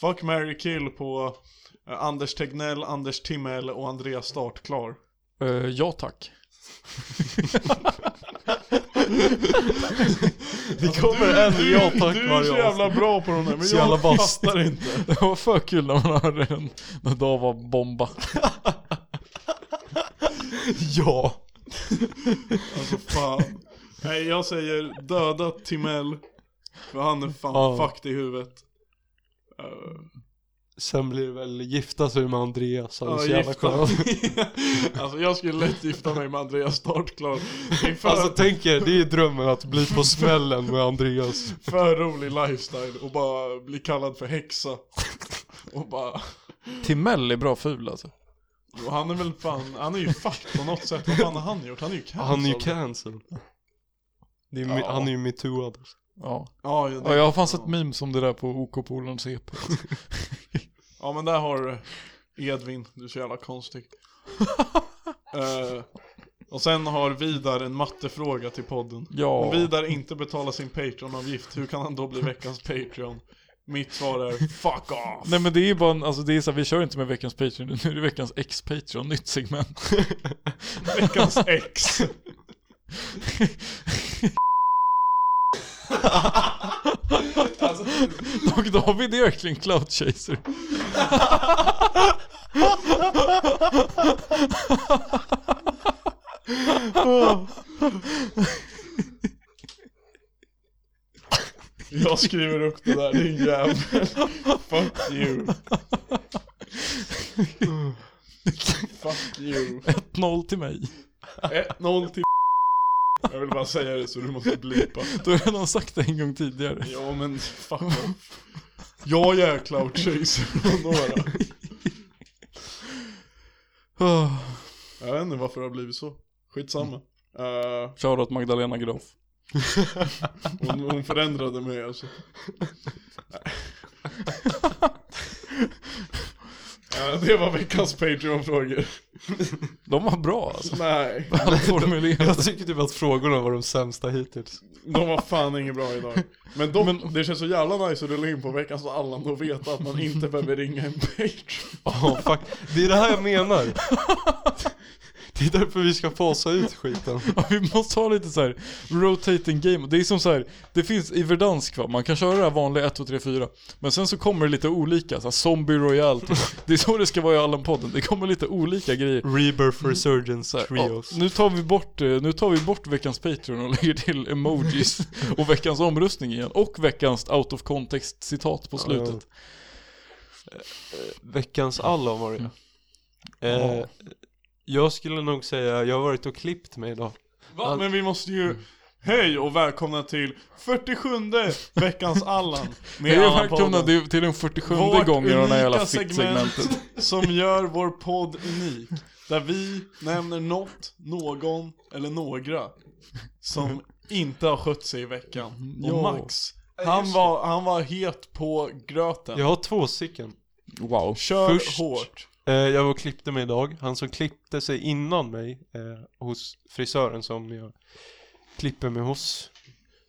Fuck, Mary kill på eh, Anders Tegnell, Anders Timmel och Andreas Startklar.
Eh, ja *laughs* tack.
Det kommer en ja tack
Du
varje
är så
avsnitt.
jävla bra på de där, men
Så jävla
jag
vass.
fattar inte.
*laughs* Det var för kul när man hörde den. När Dag var *laughs* bomba.
Ja.
Alltså
*laughs*
fan. Nej, jag säger döda Timmel. För han är fan
Ja.
fucked i huvudet. Eh,
Sen blir det väl gifta sig med Andreas. Han är
Ja,
så jävla
gifta.
skön.
*laughs* alltså jag skulle lätt gifta mig med Andreas Startklar. Det är för,
Alltså tänk er, det är drömmen att bli på smällen med Andreas.
för rolig lifestyle och bara bli kallad för häxa. Och bara,
Timmel är bra ful alltså.
och han är väl fan, han är ju fucked på något sätt. Vad fan har han gjort? Han är ju cancelled.
Han är ju cancelled. Det är mi-
Ja.
Han är ju alltså. metooad.
Ja.
Ja, ja, det,
ja jag har fan sett memes om det där på OK-polarns CP.
ja men där har du Edvin, du är så jävla konstig. Eh, och sen har Vidar en mattefråga till podden.
Ja.
Om Vidar inte betalar sin Patreon-avgift, hur kan han då bli veckans Patreon? Mitt svar är fuck off!
Nej men det är bara en, alltså det är så här, vi kör inte med veckans Patreon, *laughs* nu är det veckans ex-Patreon, nytt segment.
*laughs* Veckans ex!
Och Alltså, David är verkligen cloud chaser.
Jag skriver upp det där, din jävel. Fuck you. Fuck you.
1-0 till mig.
1-0 Eh, till Jag vill bara säga det så du måste blipa.
Du har redan sagt det en gång tidigare. *laughs*
Ja men fuck off. Jag är cloud chaser och några.
Ah.
Jag vet inte varför det har blivit så. Skitsamma. Uh,
Shoutout Magdalena Graf.
hon, hon förändrade mig alltså. *laughs* Eh, det var veckans Patreon-frågor.
De var bra alltså.
Nej. *laughs*
*laughs*
Välformulerade.
Jag tycker typ att frågorna var de sämsta hittills.
De var fan inget bra idag. Men, dock, det känns så jävla nice att rulla in på veckan så alla då vet att man inte behöver ringa en page.
Ja, fuck. Det är det här jag menar. Det är därför vi ska fasa ut skiten.
Ja, vi måste ha lite så här rotating game. Det är som så här, det finns i Verdansk va, man kan köra det här vanliga 1, 2, 3, 4. Men sen så kommer det lite olika, så här, Zombie Royale typ. Det är så det ska vara i Allan-podden, det kommer lite olika grejer.
Rebirth Resurgence
Ja,
Trios.
nu, tar vi bort, eh, nu tar vi bort veckans Patreon och lägger till emojis och veckans omröstning igen. Och veckans out of context citat på slutet.
Veckans Allan var det
Ja.
eh, Jag skulle nog säga, jag har varit och klippt mig idag.
Va? Men vi måste ju... Hej och välkomna till 47 veckans Allan med
Hej och
Allan-podden.
välkomna till- till den 47
Vårt
gången av det här jävla
unika segment.
fitt-segmentet.
som gör vår podd unik. Där vi nämner något, någon eller några som inte har skött sig i veckan. Och
Ja.
Max, han var, han var het på gröten.
Jag har två stycken.
Wow.
Kör
först-
hårt.
Eh, jag var och klippte mig idag. Han som klippte sig innan mig eh, hos frisören som jag klipper mig hos.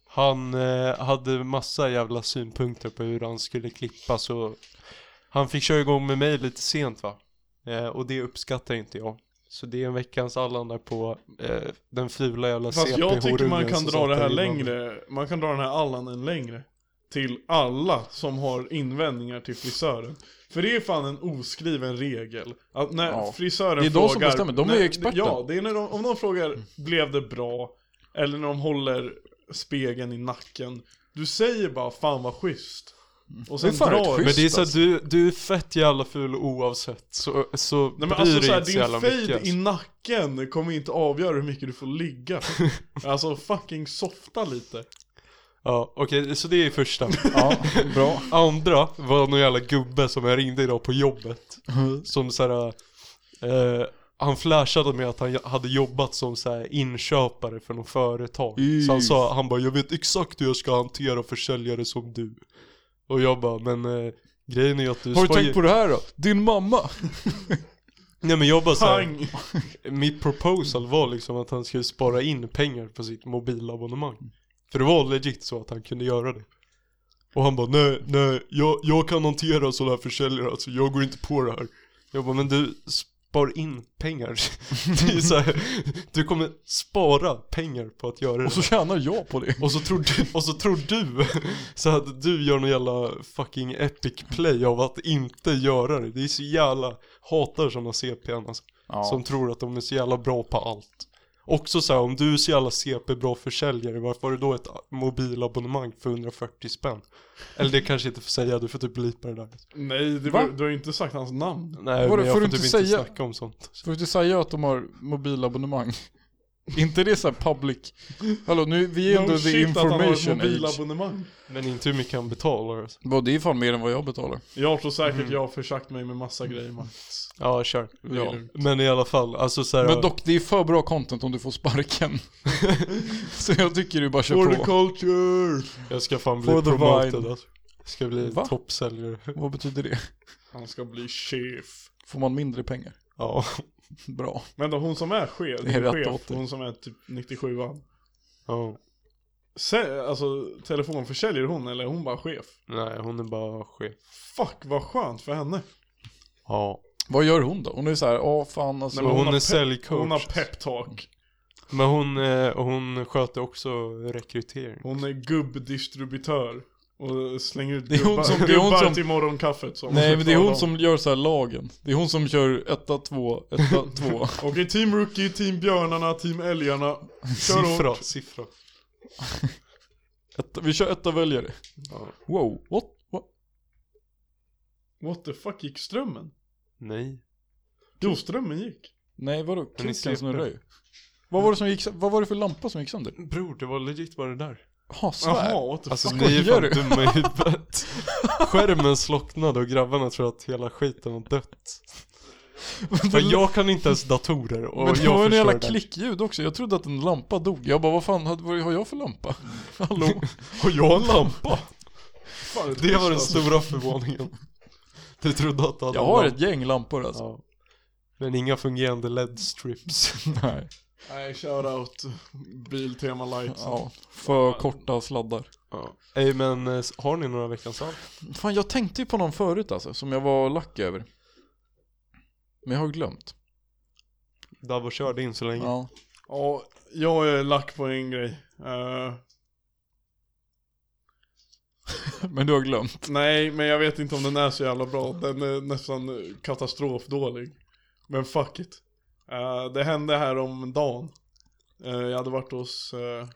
Han eh, hade massa jävla synpunkter på hur han skulle klippa så han fick köra igång med mig lite sent va. Eh, och det uppskattar inte jag. Så det är en veckans Allan där på eh, den fula jävla
Fast jag tycker man
CP-horungen
kan
som
dra det
satt
här
där innan.
längre. Man kan dra den här Allanen längre. Till alla som har invändningar till frisören. För det är fan en oskriven regel. Att när
Ja.
frisören
Det är de
frågar...
som bestämmer. De är ju
när,
experter.
Ja, det är när de, om de frågar blev det bra? Eller när de håller spegeln i nacken. Du säger bara fan vad schysst. Och sen
Det är fan rätt
drar
schysst.
Men det är så att du, du är fett jävla ful oavsett så, så
Nej men
bryr
alltså
dig
såhär,
inte så jävla
din fade
mycket. alltså.
i nacken kommer inte avgöra hur mycket du får
*laughs*
ligga. alltså fucking softa lite.
Ja, okej, så det är första.
Ja, bra.
Andra var någon jävla gubbe som jag ringde idag på jobbet.
Mm.
Som såhär, eh, han flashade med att han j- hade jobbat som såhär inköpare för något företag. Så han sa, han bara jag vet exakt hur jag ska hantera försäljare som du. Och jag bara, men eh, grejen är ju att du
Har du
ska
tänkt
ju-
på det här då? Din mamma?
Nej men jag bara såhär,
Pang!
mitt proposal var liksom att han skulle spara in pengar på sitt mobilabonnemang. För det var legit så att han kunde göra det. Och han bara nej, nej, jag, jag kan hantera sådana här försäljare alltså, jag går inte på det här. Jag bara men du, spar in pengar. *laughs* det är så här, du kommer spara pengar på att göra det.
Och så tjänar jag på det.
Och så tror du, och så tror du så att du gör någon jävla fucking epic play av att inte göra det. Det är så jävla, hatar sådana CPn alltså.
Ja.
Som tror att de är så jävla bra på allt. Också så här, om du är så jävla CP-bra försäljare, varför har du då ett mobilabonnemang för 140 spänn? Eller det kanske jag inte får säga, du får typ blipa det där.
Nej, det
Va?
var, du har ju inte sagt hans namn.
Nej,
Vadå,
men jag
får
får,
du
typ
inte
inte
säga?
snacka om sånt.
Får du säga att de har mobilabonnemang? *laughs* inte det så här public? Hallå nu, vi är ändå
No
the
shit att han har ett
information age.
mobilabonnemang.
Men inte hur mycket han betalar. alltså.
Vad det är fan mer än vad jag betalar.
Jag tror säkert
Mm.
jag har försagt mig med massa grejer Max.
Ja, kör.
Ja.
Men i alla fall, alltså så här,
Men dock, det är för bra content om du får sparken. så jag tycker du bara kör på.
Horticulture!
jag ska fan bli
For the
promoted
vine.
alltså. Jag ska bli
Va?
toppsäljare. *laughs*
Vad betyder det?
Han ska bli chef.
Får man mindre pengar? *laughs*
Ja.
Bra.
Men då hon som är chef,
Det är rätt
chef
åter.
hon som är typ 97an.
ja.
Sä- Alltså telefonförsäljer hon eller är hon bara chef?
Nej, hon är bara chef.
Fuck vad skönt för henne.
Ja.
Vad gör hon då? Hon är så här, ja fan alltså.
Men hon,
har
är
pep-
säljcoach.
Hon har peptalk.
Men hon, eh, hon sköter också rekrytering.
Hon är gubbdistributör. Och slänger ut
är hon
gubbar,
som- det är hon
gubbar
som-
till morgonkaffet. Som
Nej men det är hon som gör så här lagen. Det är hon som kör etta, två, etta, två.
Okej, team rookie, team björnarna, team älgarna. Kör
Siffra,
hårt.
siffra.
Etta, vi kör etta väljare.
Ja.
Wow, what? what?
What the fuck, gick strömmen?
Nej.
Jo, strömmen gick.
Nej vadå,
CP.
kuken snurrar ju. Vad var, det som gick, sö- vad var det för lampa som gick sönder?
Bror, det var legit bara det där.
Jaha, svär.
Jaha, what the
Alltså
fuck.
ni är fan
Skojar du?
dumma i
*laughs*
huvudet. Skärmen slocknade och grabbarna tror att hela skiten har dött. För jag kan inte ens datorer och
Men det
jag
var en
förstör
jävla
det.
klickljud också, jag trodde att en lampa dog. Jag bara, vad fan hade, vad har jag för lampa? *laughs*
*laughs*
Hallå?
Har jag en
*laughs*
lampa?
Fan,
Det var den
tyst,
stora förvåningen. Du trodde att du hade
Jag
en
har
lampa.
ett gäng lampor alltså.
Ja. Men inga fungerande LED-strips. *laughs*
Nej.
alltså. Nej, shoutout. Biltema lights.
Ja, för korta sladdar.
Nej men eh, har ni några veckans allt?
Fan jag tänkte ju på någon förut alltså, som jag var lack över. Men jag har glömt.
Davvo körde in så länge.
Ja.
Mm. Ja, jag är lack på en grej. Eh,
Men du har glömt.
nej, men jag vet inte om den är så jävla bra. Den är nästan katastrofdålig. Men fuck it. Eh, det hände här om dagen. Eh, jag hade varit hos eh,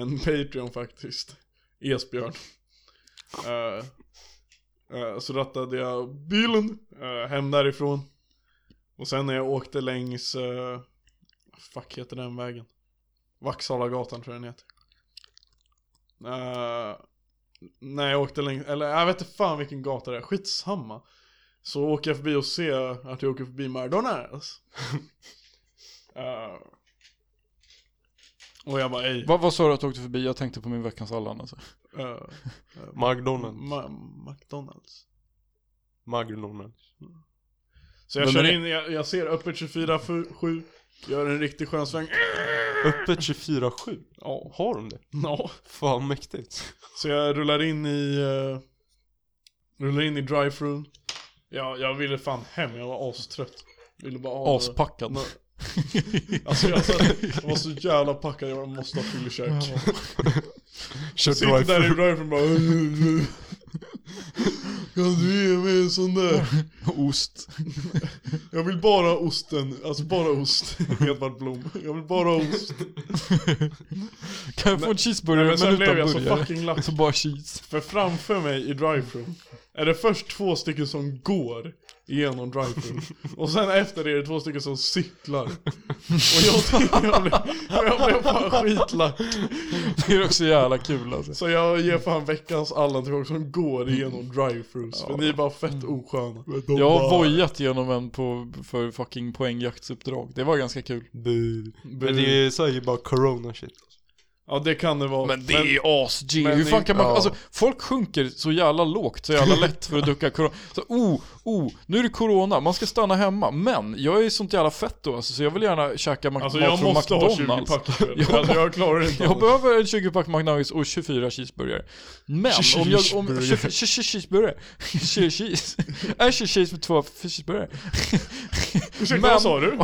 en Patreon faktiskt. Esbjörn. Eh, eh, så rattade jag bilen eh, hem därifrån. Och sen när jag åkte längs, eh, fuck heter den vägen? Vaxhallagatan tror jag den heter. Eh, när jag åkte längs, eller jag vet inte fan vilken gata det är, skitsamma. Så åker jag förbi och ser att jag åker förbi McDonalds. Eh, och jag bara ej.
Vad, vad sa du att du åkte förbi? Jag tänkte på min veckans Allan alltså.
eh,
McDonalds.
Ma- McDonalds.
McDonalds.
Så jag
Men
kör
den är-
in, jag, jag ser öppet 24-7, gör en riktig
*laughs*
skön sväng.
Öppet 24-7?
Ja.
Har de det?
Ja.
Fan mäktigt.
Så jag rullar in i, eh, rullar in i drive-thrun. Ja, jag ville fan hem, jag var astrött. Ville bara av-
Aspackad.
Nej. Alltså jag,
*laughs*
jag var så jävla packad, jag måste ha fyllekäk.
*laughs* Kör
Sitter
drive
där i drive-thrun bara "Äh, Kan du ge mig en sån där?
*laughs* Ost.
Jag vill bara ha osten, alltså bara ost. *laughs* Edvard Blom. Jag vill bara ha ost.
Kan jag få en cheeseburgare
Men
men,
sen blev
utan
jag så
burgare?
fucking lack.
Så bara cheese.
För framför mig i drive-thru är det först två stycken som går igenom drive-thru. Och sen efter det är det två stycken som cyklar. Och jag *laughs* tycker jag blev, jag blev fan skitlack.
Det är också jävla kul alltså.
Så jag ger fan veckans alla till folk som går igenom drive-thrus. För ni är bara fett osköna.
Mm. Jag har vojat genom en på, för fucking poängjaktsuppdrag. Det var ganska kul.
Bu. Men det är säkert bara corona shit.
Ja det kan det vara.
Men det är ju as-G.
men
Hur fan
det-
kan man...
ja.
Alltså, folk sjunker så jävla lågt, så jävla lätt för att ducka corona. Så, oh, oh, nu är det corona, man ska stanna hemma. Men, jag är sånt jävla fett då alltså, så jag vill gärna käka Mac-
Alltså
mat
jag
från
måste ha 20
McDonalds.
pack ikväll.
Ja.
Alltså jag klarar det
*laughs*
inte
Jag
annars.
behöver en 20-pack McNuggets och 24 cheeseburgare. Men om jag... Om,
Cheeseburgare.
che- che- cheeseburgare? *laughs* Che- cheese? Äh, che- cheese med två cheeseburgare. *laughs*
Ursäkta
Men-
vad
*laughs*
sa du?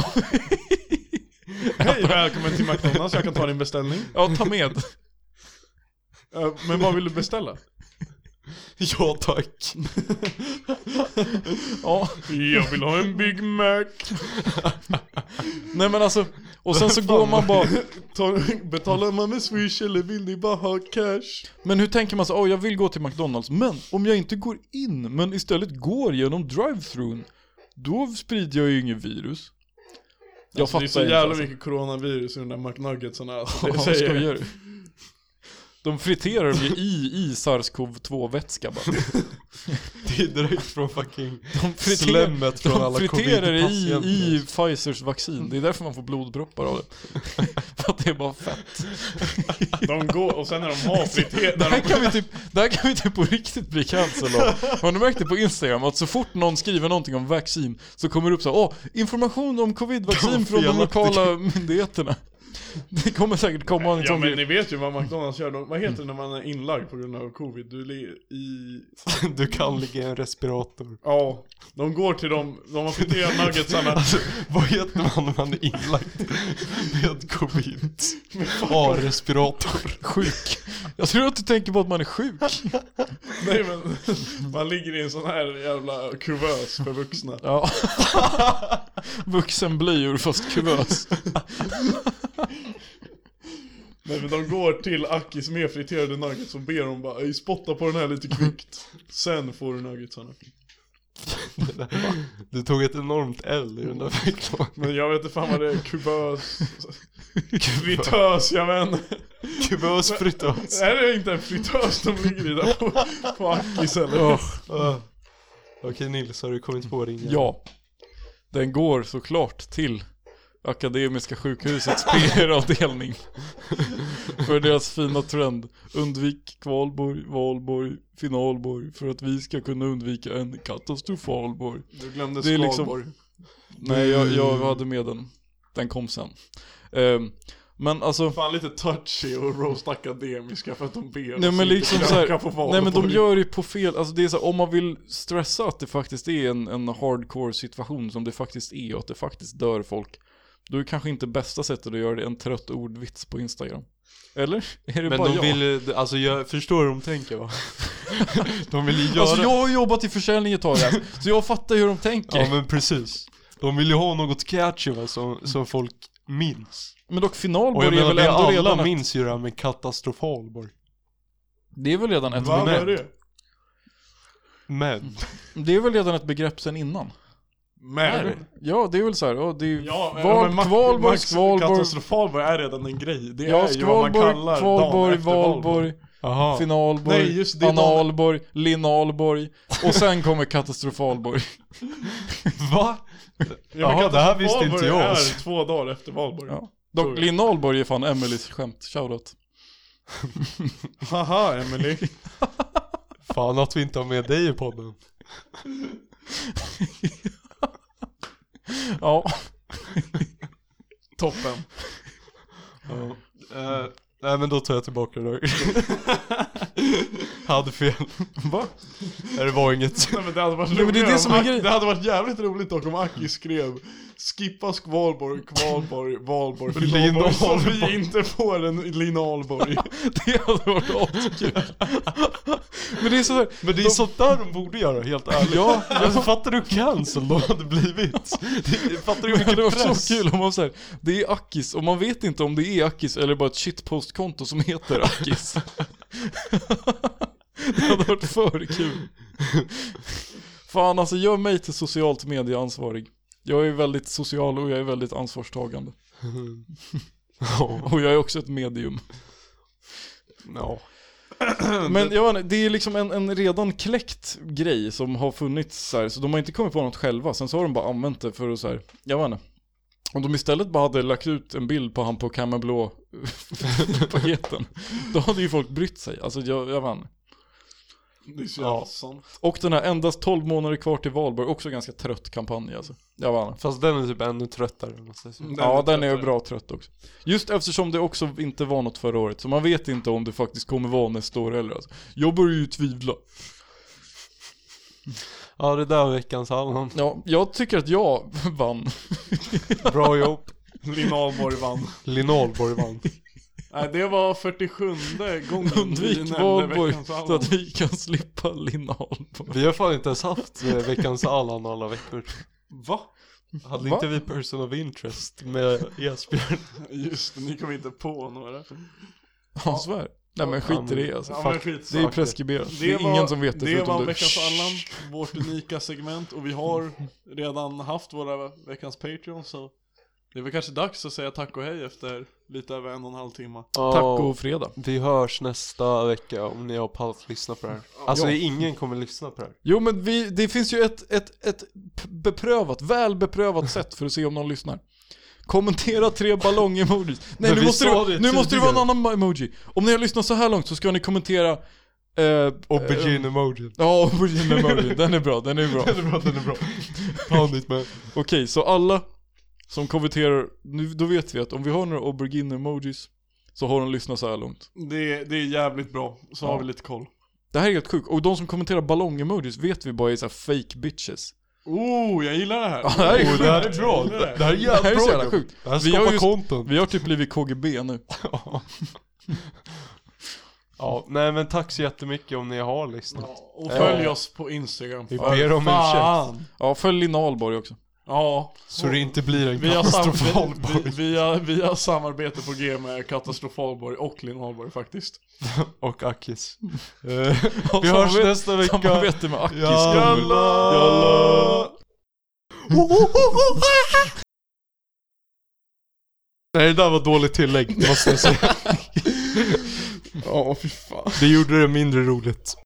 Hej välkommen till McDonalds, jag kan ta din beställning.
Ja, ta med.
Eh, Men vad vill du beställa?
Ja tack.
*laughs* Ja.
*laughs* Jag vill ha en Big Mac.
Nej men alltså, och sen så går man bara...
Ta- Betalar man med swish eller vill ni bara ha cash?
Men hur tänker man så, åh jag vill gå till McDonalds, men om jag inte går in, men istället går genom drive-thrun, då sprider jag ju inget virus. Jag fattar
Alltså, det är så
inte,
jävla
alltså.
mycket coronavirus i de
*laughs*
där McNuggetsarna alltså,
Ja,
det
vad
säger
skojar
jag.
du? De friterar dem ju i, i sars-cov-2-vätska bara.
Det är direkt från fucking
De friterar,
slemmet *laughs* från
de
alla
friterar det i,
covid-patienter.
i Pfizers vaccin, det är därför man får blodproppar av det. *laughs* För att det är bara fett.
De går och sen när de har
Det
friterat, när
här
de,
kan vi typ, det här kan vi typ på riktigt bli cancel av. Har ni märkt det på Instagram? Att så fort någon skriver någonting om vaccin så kommer det upp så här, åh, information om
De
covid-vaccin från de
felaktiga."
lokala myndigheterna. Det kommer säkert komma en
Ja
sån
men
grej.
ni vet ju vad McDonalds gör, de, vad heter det när man är inlagd på grund av covid? Du ligger i...
*laughs* Du kan ligga i en respirator.
Ja, de går till dem, de har *laughs* friterat nuggetsarna
Alltså, vad heter man när man är inlagd *laughs* med covid? A-respirator.
Sjuk. Jag tror att du tänker på att man är sjuk.
Nej men, *laughs* man ligger i en sån här jävla kuvös för vuxna
Ja. Vuxenblöjor fast kuvös.
Nej men de går till Aki som är friterade nuggets och ber dem bara "Ey, spotta på den här lite kvickt Sen får du nuggetsarna
Du tog ett enormt L i den där *laughs* ficklampan.
Men jag vet inte fan vad det är, kubös Fritös, jag men
Kuvös fritös.
Är det inte en fritös de ligger i där på, på Akis eller?
Ah. Okej Nils, har du kommit på din? jävla-
Ja. Den går såklart till Akademiska sjukhusets *laughs* PR-avdelning. för deras fina trend. Undvik kvalborg, valborg, finalborg. För att vi ska kunna undvika en katastrofalborg.
Du glömde
Det är liksom-
Skalborg
Nej, jag, jag hade med den. Den kom sen. Ehm, men alltså...
Fan lite touchy och roast akademiska för att de ber
Nej
oss
men
inte
liksom
kröka på
såhär, nej men de
valborg.
gör det på fel, alltså det är så här, om man vill stressa att det faktiskt är en, en hardcore situation som det faktiskt är och att det faktiskt dör folk Då är kanske inte bästa sättet att göra det en trött ordvits på Instagram. Eller? Är det
Men
bara
de
jag?
vill, eh, alltså jag förstår hur de tänker va? de vill ju göra...
Alltså jag har jobbat i försäljning ett
*laughs*
tag här, så jag fattar ju hur de tänker.
Ja men precis. De vill ju ha något catchy va, som, som folk minns.
Men dock
Och jag
finalborg är
menar
väl
det
ändå
alla
redan ett,
minns ju det här med katastrofalborg.
det är väl redan ett,
Va, vad är det?
Men,
det är väl redan ett begrepp sen innan?
Men.
Ja, det är väl så här, ja, det är ju
Ja,
val,
men Max-
kvalborg,
Max
skvalborg,
Katastrofalborg är redan en grej. Det
ja,
är ju vad man
skvalborg,
kallar dagen
kvalborg,
efter valborg.
valborg,
jaha.
finalborg,
Nej, just det, det är dagen-
analborg, linalborg och sen kommer
*laughs*
katastrofalborg.
Va? Jaha, det här visste inte
Katastrofalborg
jag. alltså.
är två dagar efter valborg.
Ja. Dock, linalborg är fan Emelies skämt, shoutout.
Haha, Emily.
Fan att vi inte har med dig i podden.
*laughs* Ja,
Toppen.
Ja. Eh, nej men då tar jag tillbaka det *laughs* där. Hade fel. Va? Nej, det var inget.
*laughs* Nej, men det hade varit
Nej, men det är
roligare
det som är
om Ak-
grejen.
det hade varit jävligt roligt dock om Aki skrev Skippa skvalborg, kvalborg, valborg, finalborg så vi inte får en
*laughs*
linalborg.
det hade varit
*laughs*
askul. Men det är så här,
Men det är sånt där de borde göra, helt ärligt.
ja, *laughs*
Alltså fattar du hur cancel de hade blivit? Det- Fattar du hur
Det var
mycket press?
så kul om man säger det är Akis och man vet inte om det är Akis eller bara ett shitpostkonto som heter
*laughs*
Akis. det hade varit för kul. Fan alltså gör mig till socialt medieansvarig. Jag är väldigt social och jag är väldigt ansvarstagande. Och jag är också ett medium.
Ja.
Men jag vet inte, det är liksom en, en redan kläckt grej som har funnits så här, så de har inte kommit på något själva, sen så har de bara använt det för att så här, jag vet inte. Om de istället bara hade lagt ut en bild på han på Kammarblå *laughs* paketen, då hade ju folk brytt sig. Alltså jag, jag vann.
Det är så
Ja.
jävla sant.
Och den här endast 12 månader kvar till valborg, också ganska trött kampanj alltså. Jag vann.
Fast den är typ ännu tröttare måste jag säga.
ja, den är bra trött också. Just eftersom det också inte var något förra året, så man vet inte om det faktiskt kommer vara nästa år heller alltså. Jag börjar ju tvivla.
Ja det där var veckans Allan.
Ja, jag tycker att jag *laughs* vann.
Bra jobb.
Linalborg vann.
Linalborg vann.
Nej, det var 47 gången vi
Undvik
nämnde
Valborg
veckans
så att vi kan slippa linalborg.
Vi har fan inte ens haft eh, veckans Allan alla veckor. Va? Hade
Va?
inte vi person of interest med Esbjörn?
Allan. Just det, ni kom inte på några.
Han svär. Nej men skit i det alltså.
Ja,
Fuck.
men skitsak.
Det är preskriberat. Det, är
var-
ingen som vet det,
Det
förutom
var
du.
veckans
Shh.
Allan, vårt unika segment. Och vi har redan haft våra veckans Patreon så det är väl kanske dags att säga tack och hej efter lite över en och en halv timme.
Tack och fredag.
Vi hörs nästa vecka om ni har pallat lyssna på det här. Alltså det är ingen kommer lyssna på det här.
Jo men vi, det finns ju ett, ett, ett p- beprövat, väl beprövat sätt för att se om någon lyssnar. Kommentera tre ballong-emojis. Nej
Men
nu
vi
måste,
sa
det,
det
nu måste det vara en
tidigare.
annan emoji. Om ni har lyssnat så här långt så ska ni kommentera... Eh, eh,
Aubergine-emojin.
Ja, aubergine-emojin. Den är bra, *laughs* den är bra.
Den är bra, den är bra. Ta nytt med.
Okej, så alla som konverterar, nu, då vet vi att om vi har några aubergine-emojis så har de lyssnat så här långt.
Det, det är jävligt bra, så har vi lite koll.
Det här är helt sjukt, och de som kommenterar ballong-emojis vet vi bara är så här fake bitches.
Oh, jag gillar det
*laughs*
här!
Det här är
Oh,
sjukt.
det här är bra. Det det här är
Det här är
jävligt
så
bra.
jävla sjukt.
Det här
Vi har
skapar
ju-
content. *laughs*
Vi har typ blivit KGB nu.
Ja, nej men tack så jättemycket om ni har lyssnat.
Ja, Och följ
Eh,
oss på Instagram.
Vi
Fan.
ber om ursäkt.
Ja, följ Linalborg också.
Ja,
Så det inte blir en
vi har,
katastrofal
sam- vi,
borg.
vi, vi, har, vi har samarbete på G med Katastrofalborg och Linalborg faktiskt.
Och
*laughs*
Akis. Eh,
Ja,
Vi hörs
samarbete-
nästa vecka.
Samarbete med Akis.
Jalla! Jalla! Nej det där var dåligt tillägg måste jag säga.
Ja, fy fan.
Det gjorde det mindre roligt.